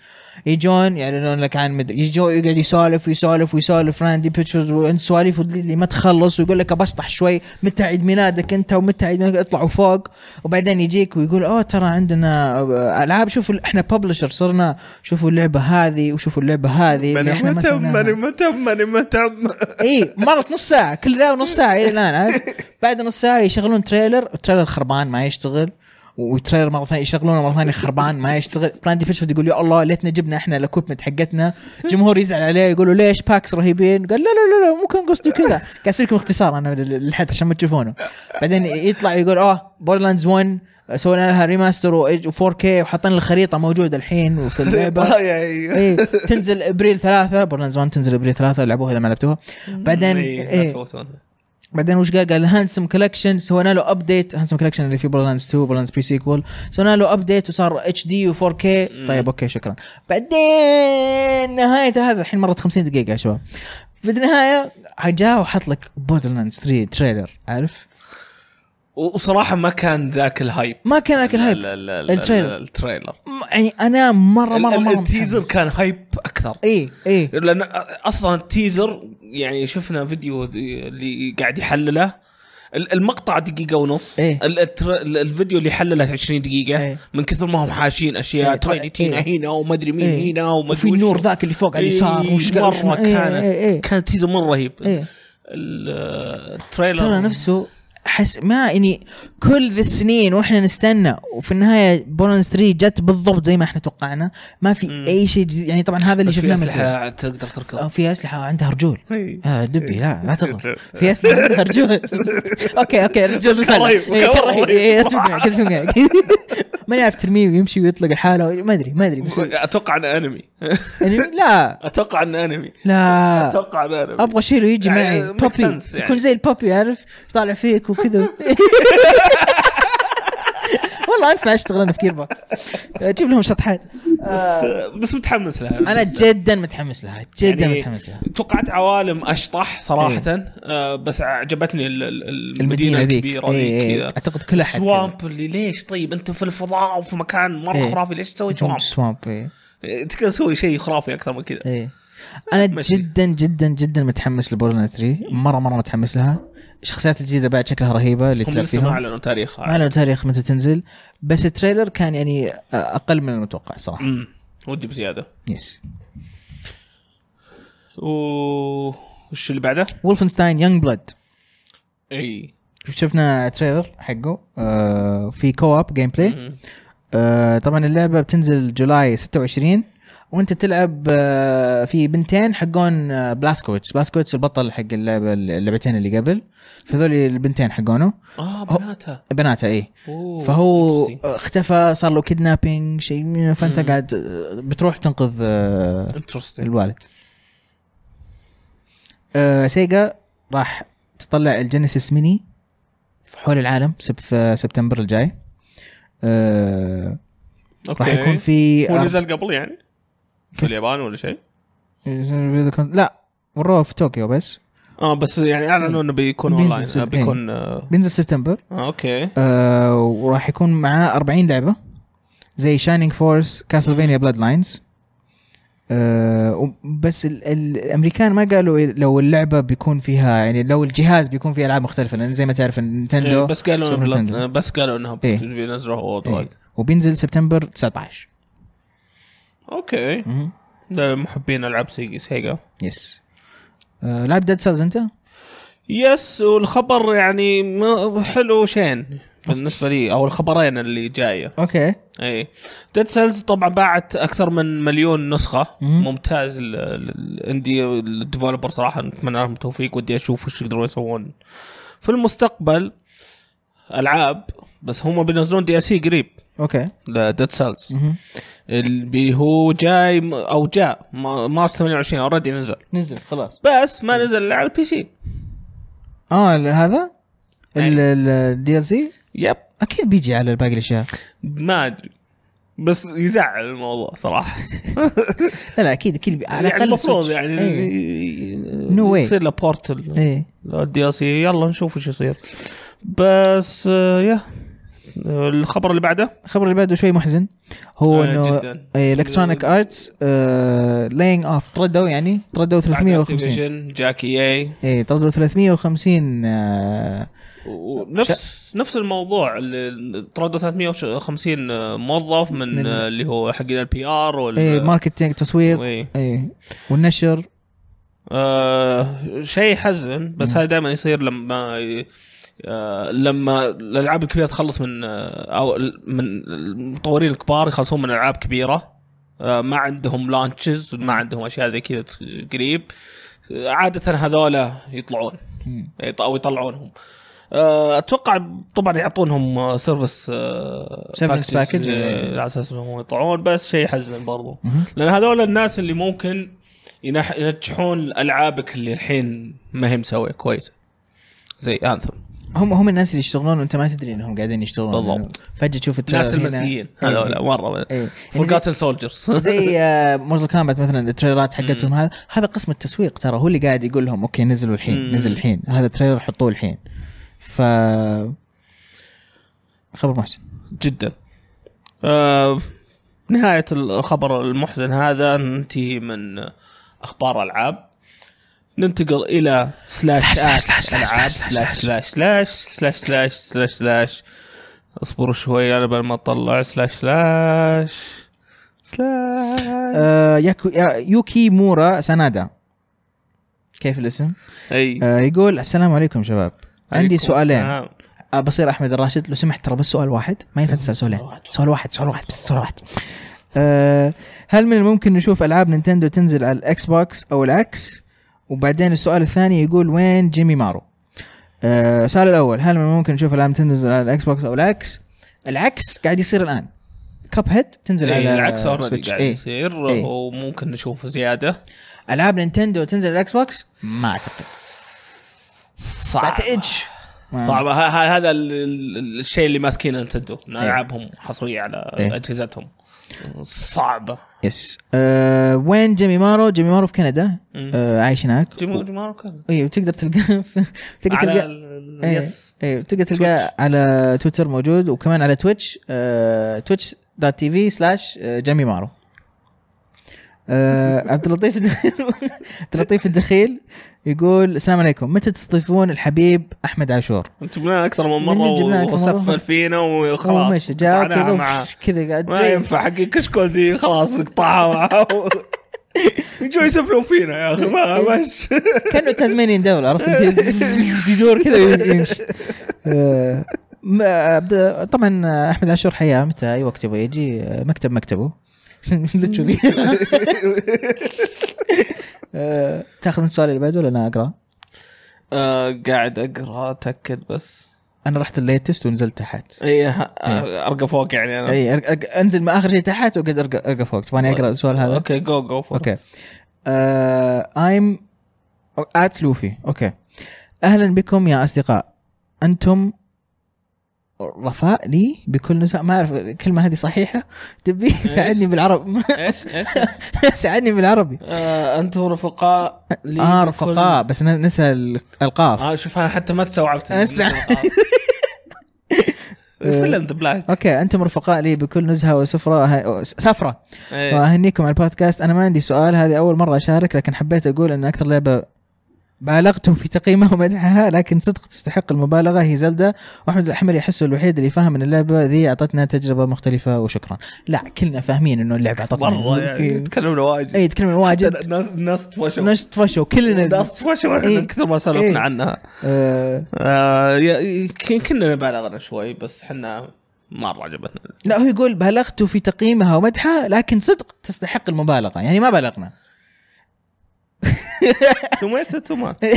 Speaker 2: يجون يعلنون لك عن مدري يجوا يقعد يسولف ويسولف ويسولف راندي بيتشرز وانت سواليف اللي ما تخلص ويقول لك بشطح شوي متى عيد ميلادك انت ومتى عيد ميلادك اطلعوا فوق وبعدين يجيك ويقول اوه ترى عندنا العاب شوفوا احنا ببلشر صرنا شوفوا اللعبه هذه وشوفوا اللعبه هذه اللي احنا ما سويناها.
Speaker 1: ما يعني تم ماني ما تم
Speaker 2: اي مرت نص ساعه كل ذا ونص ساعه الى الان عاد. بعد نص ساعه يشغلون تريلر التريلر خربان ما يشتغل وتريلر مره ثانيه يشغلونه مره ثانيه خربان ما يشتغل براندي بيتشفورد يقول يا الله ليتنا جبنا احنا الاكوبمنت حقتنا جمهور يزعل عليه يقولوا ليش باكس رهيبين قال لا لا لا لا مو كان قصدي كذا قاعد اسوي لكم اختصار انا للحد عشان ما تشوفونه بعدين يطلع يقول اه بورلاندز 1 سوينا لها ريماستر و 4K وحاطين الخريطه موجوده الحين وفي
Speaker 1: [LAUGHS]
Speaker 2: اللعبه
Speaker 1: آه،
Speaker 2: ايه تنزل ابريل ثلاثة بورلاندز 1 تنزل ابريل ثلاثة لعبوها اذا ما لعبتوها بعدين
Speaker 1: إيه.
Speaker 2: ايه بعدين وش قال؟ قال هانسم كولكشن سوينا له ابديت هانسم كولكشن اللي فيه بورلاندز 2 بورلاندز بري سيكول سوينا له ابديت وصار اتش دي و4 كي طيب اوكي شكرا بعدين نهايه هذا الحين مرت 50 دقيقه يا شباب في النهايه جاء وحط لك بورلاندز 3 تريلر عارف؟
Speaker 1: وصراحه ما كان ذاك الهايب
Speaker 2: ما كان اكل هايب
Speaker 1: لا- لا- لا-
Speaker 2: التريلر.
Speaker 1: التريلر
Speaker 2: م- يعني انا مره مره
Speaker 1: ال-
Speaker 2: مره
Speaker 1: التيزر
Speaker 2: متحمس.
Speaker 1: كان هايب اكثر
Speaker 2: ايه ايه
Speaker 1: لان اصلا التيزر يعني شفنا فيديو اللي قاعد يحلله ال- المقطع دقيقة ونص
Speaker 2: إيه.
Speaker 1: ال- التر- ال- الفيديو اللي حلله 20 دقيقة
Speaker 2: إيه.
Speaker 1: من كثر ما هم حاشين اشياء
Speaker 2: إيه.
Speaker 1: تاينتينا
Speaker 2: إيه.
Speaker 1: هنا وما ادري مين
Speaker 2: إيه.
Speaker 1: هنا وما
Speaker 2: وفي النور ذاك اللي فوق على اليسار وش قال- وش-
Speaker 1: مرة
Speaker 2: إيه،
Speaker 1: كان
Speaker 2: إيه، إيه.
Speaker 1: كان تيزر مرة رهيب
Speaker 2: إيه.
Speaker 1: ال- التريلر
Speaker 2: ترى نفسه حس ما يعني كل ذي السنين واحنا نستنى وفي النهايه بورنس 3 جت بالضبط زي ما احنا توقعنا ما في
Speaker 1: مم.
Speaker 2: اي شيء جديد يعني طبعا هذا اللي
Speaker 1: بس في
Speaker 2: شفناه من التريلر.
Speaker 1: اسلحة تقدر
Speaker 2: آه،
Speaker 1: تركض
Speaker 2: في اسلحه عندها رجول
Speaker 1: إيه.
Speaker 2: آه دبي لا لا تغلط
Speaker 1: [LAUGHS]
Speaker 2: في اسلحه عندها رجول اوكي اوكي رجول رسالة.
Speaker 1: رهيب،
Speaker 2: إيه، كان
Speaker 1: كان
Speaker 2: رهيب
Speaker 1: رهيب.
Speaker 2: إيه، أتفق معك، أتفق معك. [LAUGHS] ماني عارف ترميه ويمشي ويطلق الحالة ما ادري ما ادري
Speaker 1: [LAUGHS]
Speaker 2: بس
Speaker 1: اتوقع انه [LAUGHS] انمي
Speaker 2: يعني لا
Speaker 1: اتوقع انه انمي
Speaker 2: لا
Speaker 1: اتوقع انه انمي
Speaker 2: ابغى شيء يجي
Speaker 1: يعني
Speaker 2: معي
Speaker 1: make
Speaker 2: بوبي
Speaker 1: sense يعني.
Speaker 2: يكون زي البوبي عارف طالع فيك
Speaker 1: [LAUGHS]
Speaker 2: وكذا والله انفع اشتغل انا في جير بوكس اجيب لهم شطحات
Speaker 1: بس
Speaker 2: آه،
Speaker 1: بس متحمس لها
Speaker 2: انا جدا متحمس لها جدا
Speaker 1: يعني
Speaker 2: متحمس لها
Speaker 1: توقعت عوالم اشطح صراحه
Speaker 2: إيه.
Speaker 1: آه بس عجبتني ال- ال- المدينه
Speaker 2: المدينه ذيك
Speaker 1: الكبيره
Speaker 2: إيه،
Speaker 1: ذيك
Speaker 2: إيه.
Speaker 1: كذا
Speaker 2: اعتقد كل احد
Speaker 1: سوامب اللي ليش طيب انت في الفضاء وفي مكان مره
Speaker 2: إيه.
Speaker 1: خرافي ليش تسوي سوامب؟
Speaker 2: سوامب ايه
Speaker 1: إيه، تقدر تسوي شيء خرافي اكثر من كذا
Speaker 2: ايه انا
Speaker 1: ماشي.
Speaker 2: جدا جدا جدا متحمس لبورلاندز 3 مره مره متحمس لها الشخصيات الجديده بعد شكلها رهيبه اللي
Speaker 1: هم
Speaker 2: تلعب
Speaker 1: لسه ما
Speaker 2: فيها
Speaker 1: اعلنوا تاريخها
Speaker 2: ما اعلن تاريخ متى تنزل بس التريلر كان يعني اقل من المتوقع صراحه
Speaker 1: أمم، ودي بزياده
Speaker 2: يس
Speaker 1: و- وش اللي بعده؟
Speaker 2: وولفنستاين يونج بلاد
Speaker 1: اي
Speaker 2: شفنا تريلر حقه آه في كواب جيم بلاي
Speaker 1: أمم.
Speaker 2: آه طبعا اللعبه بتنزل جولاي 26 وانت تلعب آه في بنتين حقون آه بلاسكوتش بلاسكوتش البطل حق اللعبه اللعبتين اللي قبل فذول البنتين حقونه
Speaker 1: اه بناتها
Speaker 2: بناته ايه
Speaker 1: أوه،
Speaker 2: فهو
Speaker 1: interesting.
Speaker 2: اختفى صار له كيدنابينج شيء فانت
Speaker 1: مم.
Speaker 2: قاعد بتروح تنقذ آه،
Speaker 1: انترستنج
Speaker 2: الوالد آه، سيجا راح تطلع الجينيسيس ميني في حول العالم سب في سبتمبر الجاي آه،
Speaker 1: اوكي
Speaker 2: راح يكون في
Speaker 1: هو
Speaker 2: أر-
Speaker 1: نزل قبل يعني في اليابان ولا شيء
Speaker 2: لا وروه في طوكيو بس
Speaker 1: اه بس يعني اعلنوا انه بيكون
Speaker 2: إيه. بينزل إيه.
Speaker 1: اونلاين
Speaker 2: سنة.
Speaker 1: آه، بيكون آه
Speaker 2: بينزل سبتمبر
Speaker 1: آه، اوكي
Speaker 2: آه، وراح يكون معاه 40 لعبه زي شاينينج فورس كاسلفينيا بلاد لاينز آه، بس ال- ال- الامريكان ما قالوا لو اللعبه بيكون فيها يعني لو الجهاز بيكون فيه العاب مختلفه لان زي ما تعرف
Speaker 1: إيه،
Speaker 2: النينتندو
Speaker 1: بس قالوا
Speaker 2: سوبر
Speaker 1: بلاد-
Speaker 2: نينتندو.
Speaker 1: بس قالوا انهم
Speaker 2: إيه.
Speaker 1: بينزلوها وورد
Speaker 2: إيه.
Speaker 1: وايد
Speaker 2: وبينزل سبتمبر 19
Speaker 1: اوكي
Speaker 2: مهم.
Speaker 1: لمحبين العاب سيجا سيجا
Speaker 2: يس آه، لعب ديد سيلز انت؟
Speaker 1: يس والخبر يعني ما- حلو شين بالنسبه لي او الخبرين اللي جايه
Speaker 2: اوكي
Speaker 1: اي ديد سيلز طبعا باعت اكثر من مليون نسخه
Speaker 2: مم.
Speaker 1: ممتاز ال- ال- الاندي الديفلوبر صراحه نتمنى لهم التوفيق ودي اشوف وش يقدرون يسوون في المستقبل العاب بس هم بينزلون دي سي قريب
Speaker 2: اوكي
Speaker 1: لديد سيلز
Speaker 2: مهم.
Speaker 1: اللي هو جاي م- او جاء م- مارس 28 اوريدي نزل
Speaker 2: نزل خلاص
Speaker 1: بس ما نزل الا على البي سي
Speaker 2: اه ال- هذا
Speaker 1: أي.
Speaker 2: الدي ال سي
Speaker 1: يب
Speaker 2: اكيد بيجي على باقي الاشياء
Speaker 1: ما ادري بس يزعل الموضوع صراحه
Speaker 2: لا لا اكيد اكيد بي- على
Speaker 1: يعني
Speaker 2: الاقل
Speaker 1: المفروض
Speaker 2: Switch.
Speaker 1: يعني
Speaker 2: ايه.
Speaker 1: no
Speaker 2: No way.
Speaker 1: يصير له بورتل
Speaker 2: ايه
Speaker 1: الدي سي يلا نشوف ايش يصير بس آه، يا آه، الخبر اللي بعده
Speaker 2: الخبر اللي بعده شوي محزن هو إيه،
Speaker 1: آه،
Speaker 2: انه
Speaker 1: جدا
Speaker 2: الكترونيك ارتس لاينج اوف طردوا يعني طردوا 350
Speaker 1: Activision، جاكي اي
Speaker 2: ايه طردوا 350 آه،
Speaker 1: ونفس نفس الموضوع اللي طردوا 350 آه، موظف من,
Speaker 2: من-
Speaker 1: آه، اللي هو حقين البي ار وال
Speaker 2: ايه ماركتينج تصوير
Speaker 1: إيه.
Speaker 2: ايه والنشر
Speaker 1: آه شيء حزن بس هذا دائما يصير لما آه لما الالعاب الكبيره تخلص من آه او ال- من المطورين الكبار يخلصون من العاب كبيره آه ما عندهم لانشز ما عندهم اشياء زي كذا ت- قريب آه، عاده هذولا يطلعون
Speaker 2: مم.
Speaker 1: يط- او يطلعونهم آه، اتوقع طبعا يعطونهم آه، سيرفس
Speaker 2: Service package. إيه.
Speaker 1: آه، على اساس انهم يطلعون بس شيء حزن برضو
Speaker 2: مهم.
Speaker 1: لان هذول الناس اللي ممكن ينح- ينجحون العابك اللي الحين ما هي مسويه كويسه زي انثم
Speaker 2: هم هم الناس اللي يشتغلون وانت ما تدري انهم قاعدين يشتغلون
Speaker 1: بالضبط.
Speaker 2: لأنه فجاه تشوف التريلر
Speaker 1: الناس
Speaker 2: هنا.
Speaker 1: المسيحيين
Speaker 2: إيه.
Speaker 1: هذول مره
Speaker 2: ايه يعني زي-
Speaker 1: فورغاتن سولجرز
Speaker 2: [LAUGHS] زي آه، مورتال كامبات مثلا التريلرات حقتهم هذا هذا قسم التسويق ترى هو اللي قاعد يقول لهم اوكي نزلوا الحين
Speaker 1: مم.
Speaker 2: نزل الحين هذا التريلر حطوه الحين ف خبر محسن
Speaker 1: جدا آه نهاية الخبر المحزن هذا ننتهي من أخبار ألعاب ننتقل إلى سلاش
Speaker 2: سلاش-
Speaker 1: آت
Speaker 2: سلاش- سلاش-
Speaker 1: ألعاب
Speaker 2: سلاش-
Speaker 1: سلاش سلاش سلاش سلاش سلاش سلاش سلاش اصبروا شوي أنا بعد ما أطلع سلاش سلاش سلاش
Speaker 2: آه ياكو يا- يوكي مورا سنادا كيف الاسم؟
Speaker 1: أي
Speaker 2: آه يقول السلام عليكم شباب عندي
Speaker 1: عليكم
Speaker 2: سؤالين
Speaker 1: السلام.
Speaker 2: آه بصير احمد الراشد لو سمحت ترى بس سؤال واحد ما ينفع تسال سؤالين
Speaker 1: سؤال واحد.
Speaker 2: سؤال واحد سؤال واحد بس سؤال واحد آه هل من الممكن نشوف العاب نينتندو تنزل على الاكس بوكس او العكس وبعدين السؤال الثاني يقول وين جيمي مارو آه، السؤال الاول هل من الممكن نشوف العاب نينتندو تنزل على الاكس بوكس او العكس العكس قاعد يصير الان كاب هيد تنزل
Speaker 1: إي،
Speaker 2: على
Speaker 1: إيه، العكس اوريدي
Speaker 2: سويتش.
Speaker 1: قاعد
Speaker 2: إيه.
Speaker 1: يصير
Speaker 2: إيه.
Speaker 1: وممكن نشوف زيادة
Speaker 2: العاب نينتندو تنزل على الاكس بوكس ما اعتقد
Speaker 1: صعب
Speaker 2: بعتقدش. ما-
Speaker 1: صعبة ه- ه- هذا ال- ال- الشيء اللي ماسكينه نتندو ان
Speaker 2: إيه.
Speaker 1: العابهم حصريه على
Speaker 2: إيه.
Speaker 1: اجهزتهم صعبه
Speaker 2: يس آه، وين جيمي مارو جيمي مارو في كندا
Speaker 1: مم.
Speaker 2: آه، عايش هناك
Speaker 1: جيمو جيمارو كان
Speaker 2: ايوه وتقدر تلقاه [LAUGHS] في- تقدر
Speaker 1: على
Speaker 2: تلقاه
Speaker 1: ال-
Speaker 2: إيه،
Speaker 1: يس
Speaker 2: ايوه تقدر تلقاه على تويتر موجود وكمان على تويتش آه، تويتش دوت تي في سلاش آه، جيمي مارو آه، عبد اللطيف [LAUGHS] عبد اللطيف الدخيل يقول السلام عليكم متى تستضيفون الحبيب احمد عاشور؟
Speaker 1: جبناه اكثر من
Speaker 2: مني جبناه
Speaker 1: مره
Speaker 2: أكثر من مرة.
Speaker 1: وسفل فينا
Speaker 2: هو
Speaker 1: وخلاص
Speaker 2: مشى جاء
Speaker 1: قطعناها
Speaker 2: كذا
Speaker 1: معاه.
Speaker 2: وفش- كذا قاعد
Speaker 1: ما
Speaker 2: زي-
Speaker 1: ينفع حق كشكول ذي خلاص نقطعها
Speaker 2: [LAUGHS]
Speaker 1: معاه يجوا يسفلون فينا يا اخي ما
Speaker 2: إيه.
Speaker 1: مش
Speaker 2: كانه تازمانيين دولة عرفت كذا يدور كذا ويمشي آه، م- عبد- طبعا احمد عاشور حياه متى اي وقت يبغى يجي آه، مكتب مكتبه [LAUGHS] Literally. آه، تاخذ من السؤال اللي بعده ولا انا اقرا؟
Speaker 1: آه قاعد اقرا اتاكد بس
Speaker 2: انا رحت الليتست ونزلت تحت
Speaker 1: اي ه-
Speaker 2: إيه.
Speaker 1: ارقى إيه، فوق يعني انا
Speaker 2: اي أرق- أرق- انزل ما اخر شيء تحت واقعد ارقى ارقى فوق تبغاني اقرا السؤال هذا؟
Speaker 1: اوكي جو جو فور
Speaker 2: اوكي آه، ايم ات لوفي اوكي اهلا بكم يا اصدقاء انتم رفاء لي بكل نزاع ما اعرف الكلمه هذه صحيحه تبي ساعدني بالعرب [LAUGHS]
Speaker 1: ايش ايش
Speaker 2: ساعدني بالعربي
Speaker 1: آه انتم رفقاء لي
Speaker 2: اه
Speaker 1: بكل-
Speaker 2: رفقاء بس ن- نسى ال- القاف
Speaker 1: اه شوف انا حتى ما تستوعبت
Speaker 2: أسع- [LAUGHS]
Speaker 1: فيلم ذا بلاك
Speaker 2: اوكي انتم رفقاء لي بكل نزهه وسفره ه- سفره
Speaker 1: إيه.
Speaker 2: واهنيكم على البودكاست انا ما عندي سؤال هذه اول مره اشارك لكن حبيت اقول ان اكثر لعبه بالغتم في تقييمها ومدحها لكن صدق تستحق المبالغه هي زلدة واحمد الحمري يحسه الوحيد اللي فاهم ان اللعبه ذي اعطتنا تجربه مختلفه وشكرا لا كلنا فاهمين انه اللعبه اعطتنا
Speaker 1: مره يعني تكلمنا واجد
Speaker 2: اي تكلمه إيه، واجد
Speaker 1: الناس الناس تفشوا
Speaker 2: ناس طفشوا كلنا
Speaker 1: الناس تفشوا
Speaker 2: إيه.
Speaker 1: احنا كثر ما
Speaker 2: إيه.
Speaker 1: سولفنا عنها
Speaker 2: آه،
Speaker 1: آه، يا- ك- كنا بالغنا شوي بس احنا مره عجبتنا
Speaker 2: [LAUGHS] لا هو يقول بالغت في تقييمها ومدحها لكن صدق تستحق المبالغه يعني ما بلغنا
Speaker 1: توميتو تومات
Speaker 2: إيه.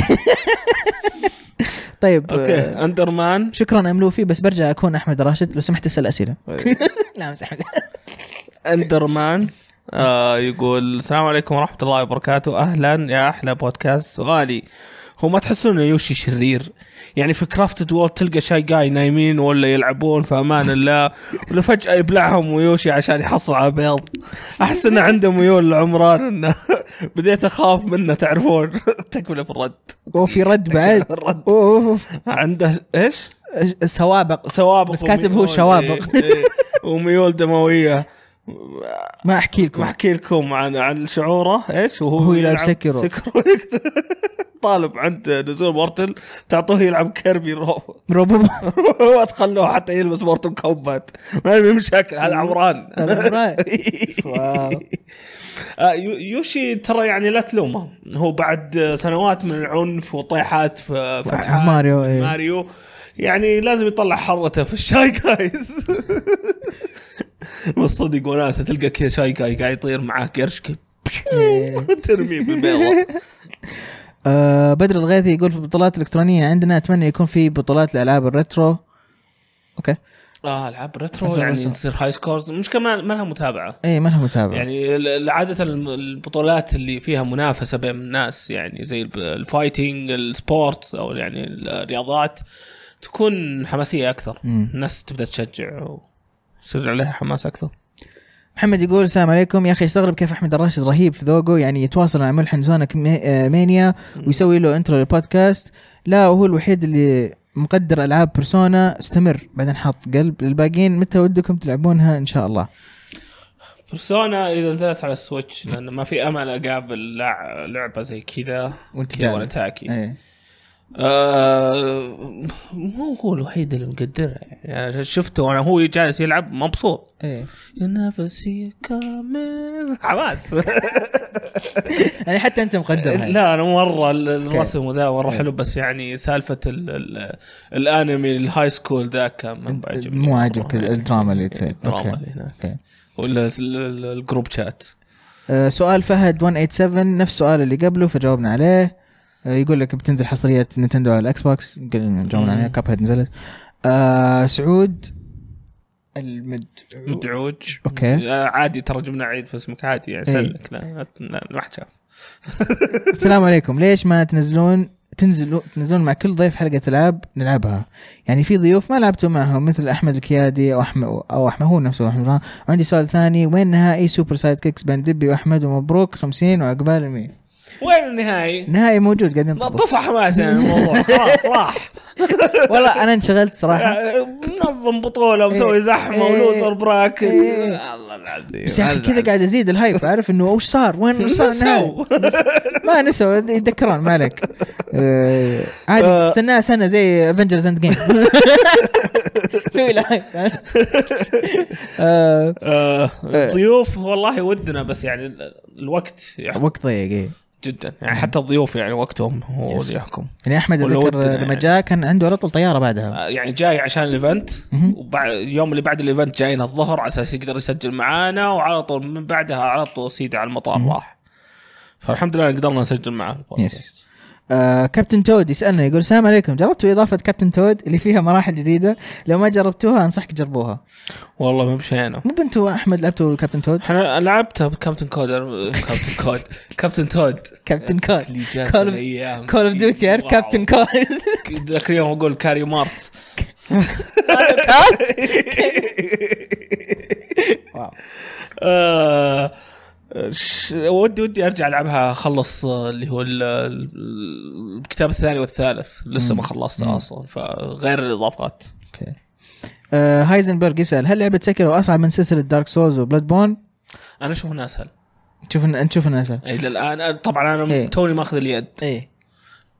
Speaker 2: طيب آه،
Speaker 1: اوكي اندر
Speaker 2: [LAUGHS]
Speaker 1: مان
Speaker 2: شكرا املوفي بس برجع اكون احمد راشد لو سمحت اسال اسئله [LAUGHS] لا مسح
Speaker 1: اندر مان آه يقول السلام عليكم ورحمه الله وبركاته اهلا يا احلى بودكاست سؤالي هو ما تحسون ان يوشي شرير يعني في كرافتد وورد تلقى شاي جاي نايمين ولا يلعبون في امان الله ولا فجاه يبلعهم ويوشي عشان يحصل على بيض احس انه عنده ميول لعمران انه [LAUGHS] بديت اخاف منه تعرفون [LAUGHS] تكمله في الرد
Speaker 2: وفي [LAUGHS] رد بعد
Speaker 1: الرد
Speaker 2: أوه، أوه،
Speaker 1: عنده ايش؟
Speaker 2: أوه. سوابق
Speaker 1: سوابق
Speaker 2: بس كاتب هو
Speaker 1: وميول-
Speaker 2: شوابق.
Speaker 1: إيه، إيه، وميول دمويه
Speaker 2: ما احكي لكم
Speaker 1: بحكي لكم عن عن شعوره ايش وهو
Speaker 2: هو يلعب سكرو.
Speaker 1: سكرو [LAUGHS] طالب عند نزول مورتل تعطوه يلعب كيربي رو [LAUGHS]
Speaker 2: روبو
Speaker 1: ما تخلوه حتى يلبس مورتل كومبات ما في مشاكل هذا عمران
Speaker 2: [LAUGHS] هذا عمران. واو.
Speaker 1: آه، يو- يوشي ترى يعني لا تلومه هو بعد سنوات من العنف وطيحات في فتحات
Speaker 2: ماريو، إيه.
Speaker 1: ماريو يعني لازم يطلع حرته في الشاي جايز [LAUGHS] بالصدق وناسه تلقى كذا شاي جاي قاعد يطير معاه قرش كذا
Speaker 2: إيه.
Speaker 1: [LAUGHS] ترميه
Speaker 2: [LAUGHS]
Speaker 1: بالبيضه
Speaker 2: [LAUGHS] آه، بدر الغيثي يقول في البطولات الالكترونيه عندنا اتمنى يكون في بطولات الالعاب الريترو اوكي
Speaker 1: اه العاب ريترو
Speaker 2: ريترو
Speaker 1: يعني
Speaker 2: ريترو.
Speaker 1: تصير هاي سكورز مش كمان ما لها متابعه
Speaker 2: اي ما لها متابعه يعني
Speaker 1: يعني ال- عادة الم- البطولات اللي فيها منافسة بين الناس يعني زي الب- الفايتنج السبورت أو يعني الرياضات تكون حماسية أكثر
Speaker 2: مم.
Speaker 1: الناس تبدأ تشجع ويصير عليها حماس أكثر
Speaker 2: محمد يقول السلام عليكم يا اخي استغرب كيف احمد الراشد رهيب في ذوقه يعني يتواصل مع ملحن زونك مي- آه، مانيا ويسوي له انترو للبودكاست لا وهو الوحيد اللي مقدر العاب بيرسونا استمر بعدين حاط قلب للباقيين متى ودكم تلعبونها ان شاء الله
Speaker 1: بيرسونا إذا نزلت على السويتش لأن ما في أمل أقابل لع- لعبة زي كذا
Speaker 2: وأنت
Speaker 1: كذا
Speaker 2: جالس.
Speaker 1: وأنا تاكي
Speaker 2: ايه
Speaker 1: آه، مو هو الوحيد اللي مقدرها يعني شفته وأنا هو جالس يلعب مبسوط
Speaker 2: ايه
Speaker 1: You never see it coming حماس
Speaker 2: يعني حتى انت مقدر هاي.
Speaker 1: لا انا مره ال- الرسم وذا مره حلو بس يعني سالفه ال ال الانمي الهاي سكول ذاك كان ما بعجبني
Speaker 2: مو
Speaker 1: مرة.
Speaker 2: عاجبك ال- الدراما اللي تصير
Speaker 1: الدراما
Speaker 2: أوكي.
Speaker 1: اللي هناك
Speaker 2: أوكي.
Speaker 1: ولا ال- ال- الجروب شات
Speaker 2: آه، سؤال فهد 187 نفس السؤال اللي قبله فجاوبنا عليه آه، يقول لك بتنزل حصريه نينتندو على الاكس بوكس قلنا جاوبنا عليها كاب هيد نزلت آه، سعود المد
Speaker 1: مدعوج
Speaker 2: أوكي.
Speaker 1: آه، عادي ترى جبنا عيد في اسمك عادي يعني
Speaker 2: إيه.
Speaker 1: سلك لا لا- لا ما حد شاف
Speaker 2: السلام عليكم ليش ما تنزلون تنزلوا تنزلون مع كل ضيف حلقه العاب نلعبها يعني في ضيوف ما لعبتوا معهم مثل احمد الكيادي او احمد او احمد هو نفسه احمد رام. عندي سؤال ثاني وين نهائي سوبر سايد كيكس بين دبي واحمد ومبروك 50 وعقبال 100
Speaker 1: وين النهائي؟
Speaker 2: نهائي موجود قاعدين نطبخ.
Speaker 1: طفى حماس
Speaker 2: [LAUGHS]
Speaker 1: يعني الموضوع خلاص راح
Speaker 2: والله انا انشغلت صراحه
Speaker 1: آه، منظم بطوله ومسوي زحمه
Speaker 2: إيه.
Speaker 1: ولوزر براكت
Speaker 2: إيه.
Speaker 1: الله العظيم
Speaker 2: بس يا اخي كذا
Speaker 1: أزعل.
Speaker 2: قاعد ازيد الهايب عارف انه وش صار
Speaker 1: [LAUGHS]
Speaker 2: وين وش صار النهائي؟
Speaker 1: نسوا.
Speaker 2: ما نسوا يتذكرون ما عليك آه،
Speaker 1: آه.
Speaker 2: عادي تستناه سنه زي افنجرز اند جيم
Speaker 1: [LAUGHS]
Speaker 2: سوي آه، الهايب آه، إيه.
Speaker 1: آه، الضيوف والله ودنا بس يعني ال- الوقت يحكم
Speaker 2: وقت ضيق ايه
Speaker 1: جدا يعني حتى الضيوف يعني وقتهم هو
Speaker 2: يس.
Speaker 1: اللي يحكم
Speaker 2: يعني احمد
Speaker 1: ولو
Speaker 2: اتذكر
Speaker 1: ودنا
Speaker 2: لما
Speaker 1: يعني.
Speaker 2: جاء كان عنده على طول طياره بعدها
Speaker 1: آه، يعني جاي عشان الايفنت
Speaker 2: مهم.
Speaker 1: وبعد اليوم اللي بعد الايفنت جايين الظهر على اساس يقدر يسجل معانا وعلى طول من بعدها على طول سيدي على المطار
Speaker 2: مهم.
Speaker 1: راح فالحمد لله قدرنا نسجل معاه
Speaker 2: يس آه، كابتن تود يسالنا يقول السلام عليكم جربتوا اضافه كابتن تود اللي فيها مراحل جديده لو ما جربتوها انصحك تجربوها
Speaker 1: والله ما مشينا
Speaker 2: مو انتوا احمد لعبتوا
Speaker 1: [LAUGHS]
Speaker 2: كابتن تود
Speaker 1: احنا لعبتها بكابتن كود [LAUGHS] كابتن كود كابتن تود
Speaker 2: كابتن كول
Speaker 1: اللي جات
Speaker 2: Call of-
Speaker 1: الايام
Speaker 2: كول اوف
Speaker 1: دي.
Speaker 2: ديوتي عارف
Speaker 1: واو.
Speaker 2: كابتن كول
Speaker 1: ذاك اليوم اقول كاري مارت
Speaker 2: [LAUGHS]
Speaker 1: [LAUGHS] آه، ش- ودي ودي ارجع العبها اخلص آه، اللي هو ال- ال- الكتاب الثاني والثالث لسه ما
Speaker 2: مم.
Speaker 1: خلصته
Speaker 2: مم.
Speaker 1: اصلا فغير الاضافات
Speaker 2: آه، هايزنبرغ يسال هل لعبه سكر اصعب من سلسله دارك سولز وبلاد بون؟
Speaker 1: انا اشوف انها اسهل
Speaker 2: تشوف إن- نشوف انها اسهل
Speaker 1: الى الان آه، أنا- طبعا انا
Speaker 2: إيه.
Speaker 1: توني ماخذ اليد
Speaker 2: ايه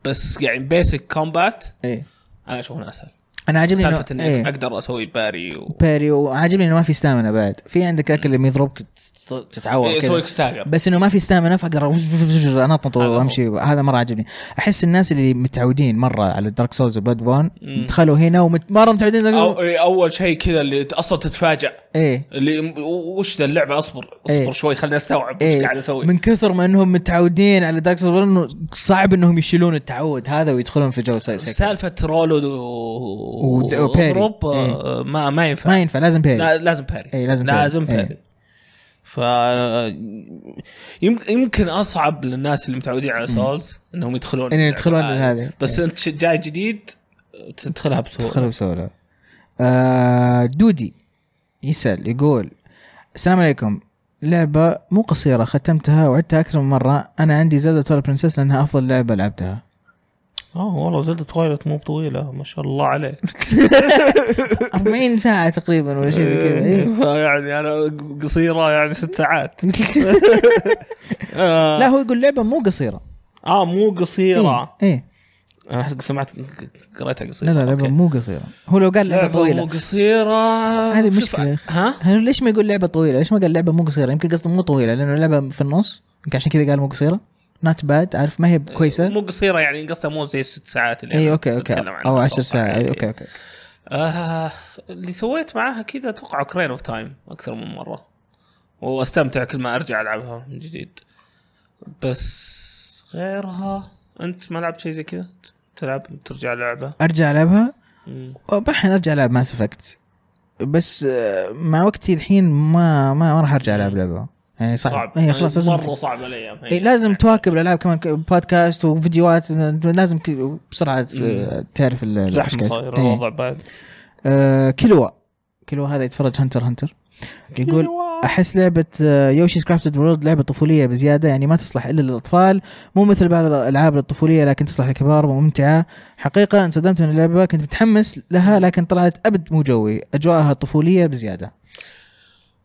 Speaker 1: بس يعني بيسك كومبات
Speaker 2: ايه
Speaker 1: انا اشوف انها اسهل
Speaker 2: انا عاجبني
Speaker 1: سالفه
Speaker 2: انه
Speaker 1: اني
Speaker 2: إيه.
Speaker 1: اقدر اسوي باري و...
Speaker 2: باري وعاجبني انه ما في ستامنا بعد في عندك اكل لما يضربك تت- تتعور
Speaker 1: إيه، اسوي
Speaker 2: كذا
Speaker 1: ستاجر
Speaker 2: بس انه ما في ستامنا فاقدر انطط
Speaker 1: هذا هو.
Speaker 2: وامشي هذا مره عاجبني احس الناس اللي متعودين مره على الدارك سولز وبلاد بون
Speaker 1: مم.
Speaker 2: دخلوا هنا ومره متعودين
Speaker 1: أو... إيه، اول شيء كذا اللي اصلا تتفاجئ
Speaker 2: ايه
Speaker 1: اللي وش ذا اللعبه اصبر اصبر
Speaker 2: إيه.
Speaker 1: شوي خليني استوعب ايش
Speaker 2: ايه
Speaker 1: قاعد اسوي
Speaker 2: من كثر ما انهم متعودين على دارك سولز انه صعب انهم يشيلون التعود هذا ويدخلون في جو سايسك
Speaker 1: سالفه رولو و-
Speaker 2: و- وباري.
Speaker 1: واضرب
Speaker 2: إيه.
Speaker 1: آه، ما ما ينفع
Speaker 2: ما ينفع لازم بيري
Speaker 1: لا لازم باري
Speaker 2: إيه، لازم باري.
Speaker 1: لازم
Speaker 2: إيه.
Speaker 1: باري ف يم- يمكن اصعب للناس اللي متعودين على سولز انهم يدخلون
Speaker 2: إن
Speaker 1: اللعبة
Speaker 2: يدخلون إيه.
Speaker 1: هذه.
Speaker 2: هذه.
Speaker 1: بس انت ش- جاي جديد تدخلها بسهوله
Speaker 2: تدخل بسهوله آه دودي يسال يقول السلام عليكم لعبة مو قصيرة ختمتها وعدتها أكثر من مرة أنا عندي زلدة تول برنسس لأنها أفضل لعبة لعبتها
Speaker 1: اه والله زلدة تويلت مو طويله ما شاء الله عليه
Speaker 2: 40 ساعة تقريبا ولا شيء زي كذا [LAUGHS] إيه.
Speaker 1: [LAUGHS] فيعني انا قصيره يعني ست
Speaker 2: [LAUGHS]
Speaker 1: ساعات آه،
Speaker 2: لا هو يقول لعبة مو قصيرة
Speaker 1: اه مو قصيره
Speaker 2: إيه. إيه
Speaker 1: انا احس سمعت قريتها قصيره
Speaker 2: لا لا لعبة
Speaker 1: أوكي.
Speaker 2: مو قصيرة هو لو قال لعبة
Speaker 1: لعبه مو
Speaker 2: طويلة
Speaker 1: قصيره
Speaker 2: هذه
Speaker 1: شوف-
Speaker 2: مشكلة يا أخي.
Speaker 1: ها
Speaker 2: هل ليش ما يقول لعبه طويله؟ ليش ما قال لعبه مو قصيره؟ يمكن قصده مو طويله لانه اللعبه في النص يمكن عشان كذا قال مو قصيره نات باد عارف ما هي كويسه
Speaker 1: مو قصيره يعني قصدها مو زي الست ساعات اللي
Speaker 2: اي
Speaker 1: أنا
Speaker 2: اوكي اوكي
Speaker 1: بتكلم عنها
Speaker 2: او
Speaker 1: أتوقع
Speaker 2: 10 ساعات
Speaker 1: يعني.
Speaker 2: اي اوكي اوكي
Speaker 1: آه اللي سويت معاها كذا اتوقع اوكرين اوف تايم اكثر من مره واستمتع كل ما ارجع العبها من جديد بس غيرها انت ما لعبت شيء زي كذا تلعب ترجع لعبه
Speaker 2: ارجع العبها إيه،
Speaker 1: مم.
Speaker 2: وبحين ارجع العب ماس افكت بس آه، مع وقتي الحين ما ما, ما راح ارجع العب لعبه يعني صعب
Speaker 1: طيب،
Speaker 2: اي خلاص لازم
Speaker 1: مره صعب الايام
Speaker 2: إيه لازم تواكب الالعاب كمان ك- بودكاست وفيديوهات لازم ت- بسرعه آه، تعرف ال-
Speaker 1: زحمه
Speaker 2: الأشكال.
Speaker 1: صاير
Speaker 2: إيه.
Speaker 1: الوضع بعد
Speaker 2: آه، كيلوا كيلوا هذا يتفرج هنتر هنتر
Speaker 1: [LAUGHS]
Speaker 2: يقول احس لعبه يوشي كرافتد وورلد لعبه طفوليه بزياده يعني ما تصلح الا للاطفال مو مثل بعض الالعاب الطفوليه لكن تصلح للكبار وممتعه حقيقه انصدمت من اللعبه كنت متحمس لها لكن طلعت ابد مو جوي اجواءها طفوليه بزياده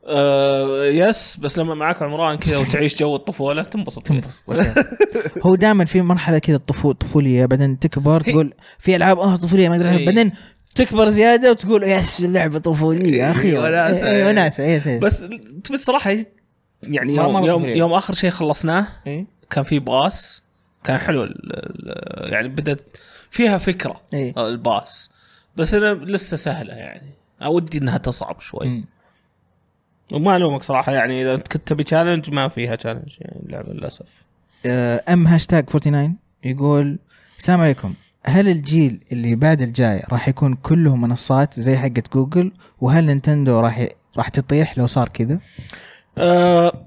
Speaker 1: آه يس بس لما معك عمران كذا وتعيش جو الطفوله تنبسط تنبسط
Speaker 2: هو دائما في مرحله كذا الطفو- طفوليه بعدين تكبر
Speaker 1: هي- إيه.
Speaker 2: تقول في العاب اه طفوليه ما اقدر العبها
Speaker 1: هي.
Speaker 2: بعدين تكبر زياده وتقول يس اللعبه طفوليه يا اخي
Speaker 1: هي وناسة.
Speaker 2: إيه، إيه، وناسه يس يس
Speaker 1: [LAUGHS] بس بس الصراحه يعني
Speaker 2: ما- ما
Speaker 1: يوم يوم,
Speaker 2: بطيء.
Speaker 1: يوم اخر شيء خلصناه
Speaker 2: إيه،
Speaker 1: كان في باص كان حلو ال- ال- يعني بدت فيها فكره
Speaker 2: إيه.
Speaker 1: الباص بس انا لسه سهله يعني اودي انها تصعب شوي
Speaker 2: مم.
Speaker 1: وما الومك صراحه يعني اذا أنت كنت تبي تشالنج ما فيها تشالنج يعني اللعبه للاسف
Speaker 2: آه، ام هاشتاج 49 يقول السلام عليكم هل الجيل اللي بعد الجاي راح يكون كله منصات زي حقة جوجل وهل نينتندو راح ي... راح تطيح لو صار كذا؟
Speaker 1: أه،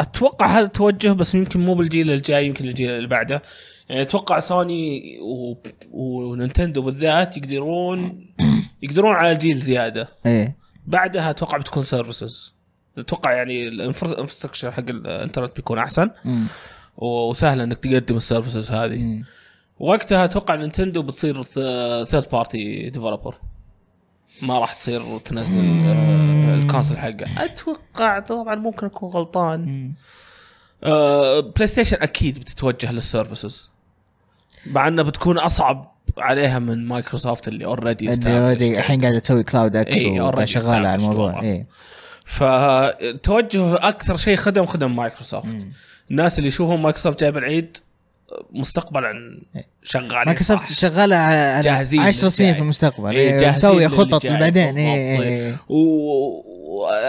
Speaker 1: اتوقع هذا التوجه بس يمكن مو بالجيل الجاي يمكن الجيل اللي بعده يعني اتوقع سوني و... وننتندو بالذات يقدرون [COUGHS] يقدرون على الجيل زياده
Speaker 2: ايه
Speaker 1: بعدها اتوقع بتكون سيرفيسز اتوقع يعني الانفراستكشر حق الانترنت بيكون احسن
Speaker 2: مم.
Speaker 1: و- وسهل انك تقدم السيرفيسز هذه
Speaker 2: مم.
Speaker 1: وقتها اتوقع نينتندو بتصير ثيرد بارتي ديفلوبر ما راح تصير تنزل آه، الكونسل حقه اتوقع طبعا ممكن اكون غلطان
Speaker 2: مم.
Speaker 1: آه، بلاي ستيشن اكيد بتتوجه للسيرفيسز مع انها بتكون اصعب عليها من مايكروسوفت اللي اوريدي
Speaker 2: اللي already الحين قاعدة تسوي كلاود اكس
Speaker 1: إيه، already
Speaker 2: وشغالة على
Speaker 1: established
Speaker 2: الموضوع
Speaker 1: والله.
Speaker 2: ايه
Speaker 1: فتوجه اكثر شيء خدم خدم مايكروسوفت
Speaker 2: مم.
Speaker 1: الناس اللي يشوفون مايكروسوفت جايب العيد مستقبلا
Speaker 2: إيه.
Speaker 1: شغالين
Speaker 2: مايكروسوفت
Speaker 1: صح.
Speaker 2: شغاله على
Speaker 1: جاهزين
Speaker 2: 10 سنين
Speaker 1: للجاي.
Speaker 2: في المستقبل
Speaker 1: إيه،
Speaker 2: إيه،
Speaker 1: جاهزين
Speaker 2: مسويه
Speaker 1: للي
Speaker 2: خطط
Speaker 1: جاي.
Speaker 2: بعدين إيه،
Speaker 1: بالضبط.
Speaker 2: إيه، إيه.
Speaker 1: و-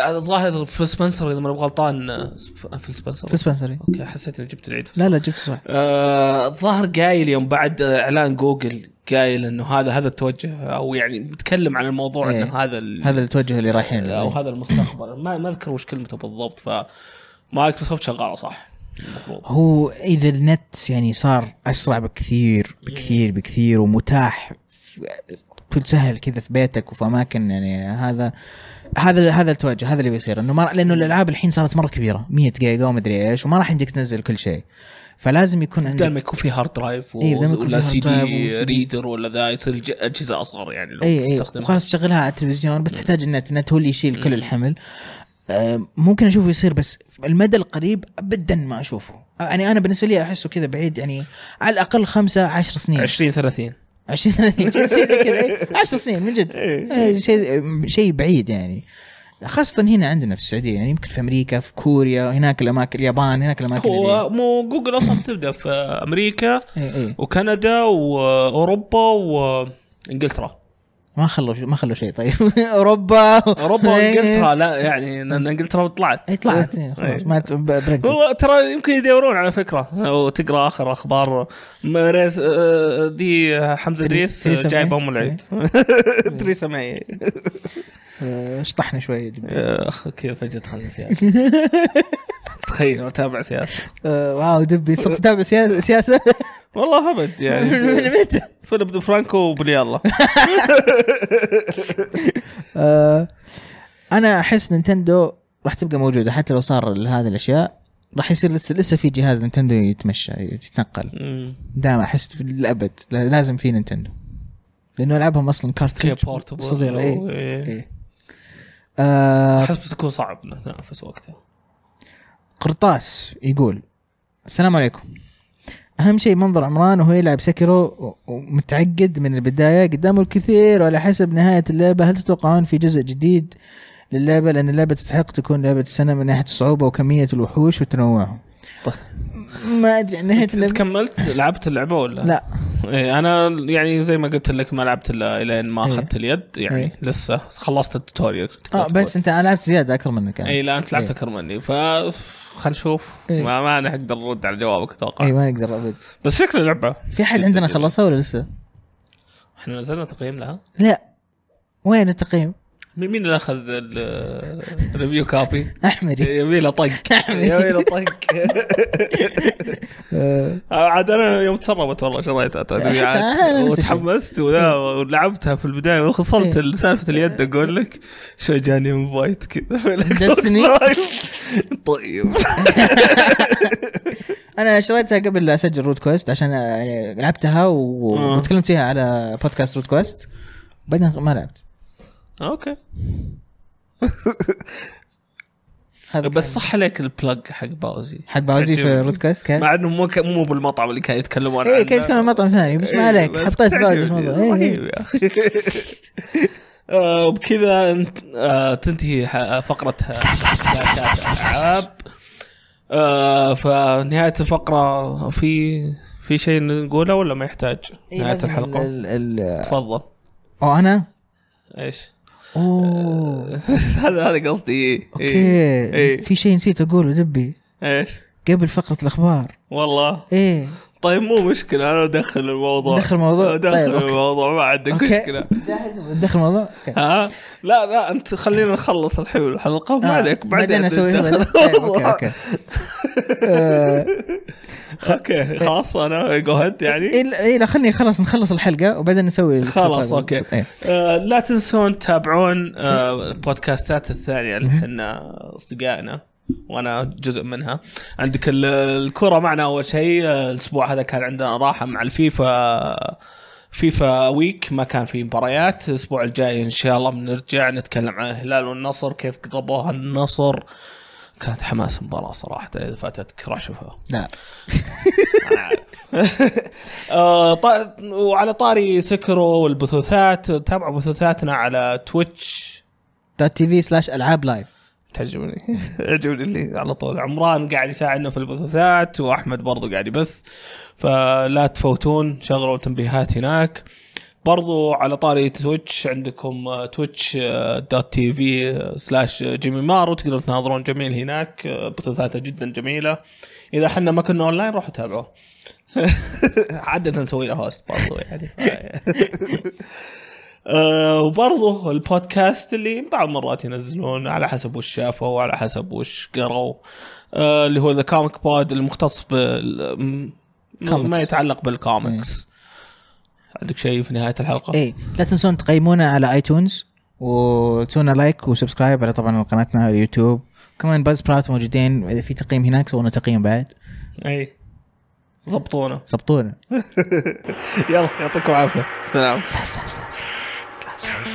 Speaker 1: الظاهر في سبنسر اذا ماني غلطان آه، في سبنسر
Speaker 2: في سبنسر
Speaker 1: اوكي حسيت اني جبت العيد في
Speaker 2: لا لا جبت صح
Speaker 1: آه، الظاهر قايل يوم بعد آه، اعلان جوجل قايل انه هذا هذا التوجه او يعني بيتكلم عن الموضوع
Speaker 2: إيه.
Speaker 1: انه هذا ال-
Speaker 2: هذا إيه. التوجه اللي رايحين له.
Speaker 1: او هذا المستقبل ما ما اذكر وش كلمته بالضبط ف مايكروسوفت شغاله صح المفروض
Speaker 2: هو اذا النت يعني صار اسرع بكثير بكثير بكثير ومتاح في- كل سهل كذا في بيتك وفي اماكن يعني هذا هذا هذا التوجه هذا اللي بيصير انه ما رح- لانه الالعاب الحين صارت مره كبيره 100 جيجا وما ادري ايش وما راح يمديك تنزل كل شيء فلازم يكون عندك
Speaker 1: دائما يكون في هارد درايف و...
Speaker 2: إيه، دايما يكون
Speaker 1: ولا
Speaker 2: في
Speaker 1: سي
Speaker 2: هارد درايف
Speaker 1: دي
Speaker 2: وسي دي.
Speaker 1: ريدر ولا ذا يصير ج- اجهزه اصغر يعني لو
Speaker 2: اي اي
Speaker 1: تستخدم
Speaker 2: وخلاص تشغلها على التلفزيون بس تحتاج النت النت هو اللي يشيل كل الحمل آه، ممكن اشوفه يصير بس المدى القريب ابدا ما اشوفه يعني انا بالنسبه لي احسه كذا بعيد يعني على الاقل خمسة عشر سنين
Speaker 1: 20 30
Speaker 2: 20 30 شيء زي كذا إيه، 10 سنين من جد إيه، شيء شيء بعيد يعني خاصة هنا عندنا في السعودية يعني يمكن في أمريكا في كوريا هناك الأماكن اليابان هناك الأماكن اللي
Speaker 1: هو مو جوجل اصلا تبدا في امريكا
Speaker 2: إيه إيه
Speaker 1: وكندا واوروبا وانجلترا
Speaker 2: ما خلوا شيء- ما خلوا شيء طيب [LAUGHS] أوروبا
Speaker 1: اوروبا
Speaker 2: [LAUGHS]
Speaker 1: وانجلترا لا يعني لان انجلترا طلعت
Speaker 2: إيه طلعت إيه، خلاص ما ت- بريكزت
Speaker 1: هو ترى يمكن يدورون على فكره لو تقرا اخر اخبار مريس آه، دي حمزه
Speaker 2: تري-
Speaker 1: ادريس
Speaker 2: تريسا
Speaker 1: جايبه
Speaker 2: ماي. إيه.
Speaker 1: ام العيد [LAUGHS] تريسا معي
Speaker 2: آه، شطحنا شوي
Speaker 1: اخ كذا فجاه دخلنا سياسه
Speaker 2: [LAUGHS]
Speaker 1: تخيل اتابع سياسه
Speaker 2: آه، واو دبي صرت تتابع سيا- [LAUGHS] سياسة
Speaker 1: والله ابد
Speaker 2: [LAUGHS]
Speaker 1: يعني
Speaker 2: من متى؟
Speaker 1: فيلم دو فرانكو وبلي الله
Speaker 2: آه، انا احس نينتندو راح تبقى موجوده حتى لو صار هذه الاشياء راح يصير لسه لسه في جهاز نينتندو يتمشى يتنقل دائما احس في الابد لا- لازم في نينتندو لانه العابهم اصلا كارتريج
Speaker 1: كيف portable
Speaker 2: صغيره
Speaker 1: و-
Speaker 2: اي
Speaker 1: إيه.
Speaker 2: إيه. آه
Speaker 1: احس بتكون صعب إنك تنافس وقتها
Speaker 2: [LAUGHS] قرطاس يقول السلام عليكم اهم شيء منظر عمران وهو يلعب سكرو و- ومتعقد من البدايه قدامه الكثير وعلى حسب نهايه اللعبه هل تتوقعون في جزء جديد للعبه لان اللعبه تستحق تكون لعبه السنه من ناحيه الصعوبه وكميه الوحوش وتنوعهم ما ادري عن نهايه
Speaker 1: انت
Speaker 2: اللعبه
Speaker 1: كملت لعبت اللعبه ولا؟
Speaker 2: لا
Speaker 1: إيه انا يعني زي ما قلت لك ما لعبت الا الين ما
Speaker 2: إيه.
Speaker 1: اخذت اليد يعني
Speaker 2: إيه.
Speaker 1: لسه خلصت التوتوريال
Speaker 2: اه بس انت انا لعبت زياده اكثر منك انا
Speaker 1: اي لا انت لعبت
Speaker 2: إيه.
Speaker 1: اكثر مني ف خلينا نشوف
Speaker 2: إيه.
Speaker 1: ما ما انا اقدر ارد على جوابك اتوقع
Speaker 2: اي ما نقدر ابد
Speaker 1: بس شكل اللعبه
Speaker 2: في حد
Speaker 1: جداً
Speaker 2: عندنا
Speaker 1: جميل.
Speaker 2: خلصها ولا لسه؟
Speaker 1: احنا نزلنا تقييم لها
Speaker 2: لا وين التقييم؟
Speaker 1: مين مين اللي اخذ ال- [LAUGHS] الريفيو كابي؟
Speaker 2: [LAUGHS] احمري
Speaker 1: يبي له
Speaker 2: [LAUGHS]
Speaker 1: طق يبي له طق
Speaker 2: آه،
Speaker 1: عاد انا يوم تسربت والله شريتها
Speaker 2: حتى
Speaker 1: تدريعات
Speaker 2: أنا نفس الشيء.
Speaker 1: وتحمست وذا ولعبتها في البدايه وخصلت
Speaker 2: إيه.
Speaker 1: سالفه اليد اقول لك شو جاني انفايت كذا في الإكس بوكس
Speaker 2: Destiny؟ [LAUGHS]
Speaker 1: لايف. طيب
Speaker 2: انا شريتها قبل لا اسجل روت كويست عشان آه، يعني لعبتها و-
Speaker 1: آه.
Speaker 2: وتكلمت فيها على بودكاست روت كويست بعدين ما لعبت
Speaker 1: اوكي
Speaker 2: هذا
Speaker 1: بس
Speaker 2: كان
Speaker 1: صح عليك البلج حق باوزي
Speaker 2: حق باوزي في
Speaker 1: تعجبني.
Speaker 2: روت كويست كان
Speaker 1: مع انه مو ك- مو بالمطعم اللي كانوا يتكلمون عنه
Speaker 2: اي إيه، كان يتكلم عن مطعم ثاني
Speaker 1: إيه،
Speaker 2: بس ما عليك حطيت باوزي في الموضوع إيه، إيه.
Speaker 1: رهيب يا اخي [LAUGHS] آه، وبكذا انت- آه، تنتهي ح- فقرتها الألعاب. آه، فنهاية الفقرة في في شيء نقوله ولا ما يحتاج؟
Speaker 2: إيه،
Speaker 1: نهاية
Speaker 2: لازم
Speaker 1: الحلقة
Speaker 2: ال- ال-
Speaker 1: تفضل
Speaker 2: او انا
Speaker 1: ايش؟
Speaker 2: اوه
Speaker 1: [LAUGHS] هذا هذا قصدي إيه.
Speaker 2: اوكي
Speaker 1: إيه.
Speaker 2: في شيء نسيت اقوله دبي
Speaker 1: ايش؟
Speaker 2: قبل فقره الاخبار
Speaker 1: والله
Speaker 2: ايه
Speaker 1: طيب مو مشكلة انا ادخل الموضوع
Speaker 2: دخل الموضوع.
Speaker 1: ادخل
Speaker 2: طيب، أوكي.
Speaker 1: الموضوع ما عندك
Speaker 2: اوكي
Speaker 1: مشكلة
Speaker 2: جاهز دخل الموضوع أوكي.
Speaker 1: ها لا لا انت خلينا نخلص الحين الحلقه ما
Speaker 2: آه،
Speaker 1: عليك بعدين
Speaker 2: اسوي
Speaker 1: [LAUGHS]
Speaker 2: هذا.
Speaker 1: تدخل.
Speaker 2: طيب، اوكي اوكي آه،
Speaker 1: اوكي خلاص انا جو هيد يعني
Speaker 2: اي إيه لا خلني خلاص نخلص الحلقه وبعدين نسوي الفقرة
Speaker 1: خلاص
Speaker 2: هذه.
Speaker 1: اوكي
Speaker 2: إيه.
Speaker 1: آه لا تنسون تتابعون آه البودكاستات الثانيه اللي احنا اصدقائنا وانا جزء منها عندك ال- الكره معنا اول شيء آه، الاسبوع هذا كان عندنا راحه مع الفيفا فيفا ويك ما كان في مباريات الاسبوع الجاي ان شاء الله بنرجع نتكلم عن الهلال والنصر كيف قربوها النصر كانت حماس مباراة صراحة إذا فاتتك رشفة
Speaker 2: لا
Speaker 1: آه، طا- وعلى طاري سكرو والبثوثات تابعوا بثوثاتنا على تويتش
Speaker 2: دوت تي في سلاش العاب لايف
Speaker 1: تعجبني [LAUGHS] يعجبني اللي على طول عمران قاعد يساعدنا في البثوثات واحمد برضو قاعد يبث فلا تفوتون شغلوا التنبيهات هناك برضو على طاري تويتش عندكم تويتش دوت تي في سلاش جيمي مارو تقدرون تناظرون جميل هناك آه، بثوثاته جدا جميله اذا حنا ما كنا اونلاين روحوا تابعوه عاده نسوي له هوست برضو يعني [LAUGHS] آه، وبرضه البودكاست اللي بعض مرات ينزلون على حسب وش شافوا وعلى حسب وش قروا آه، اللي هو ذا كوميك بود المختص بال م-
Speaker 2: كوميكس.
Speaker 1: ما يتعلق بالكوميكس عندك شيء في نهايه الحلقه؟
Speaker 2: اي إيه. لا تنسون تقيمونا على ايتونز وتسوونا لايك وسبسكرايب على طبعا قناتنا على اليوتيوب كمان باز برات موجودين اذا في تقييم هناك سوونا تقييم بعد
Speaker 1: اي إيه. [LAUGHS] ضبطونا
Speaker 2: ضبطونا
Speaker 1: يلا يعطيكم العافيه سلام
Speaker 2: سلاش سلاش سلاش سلاش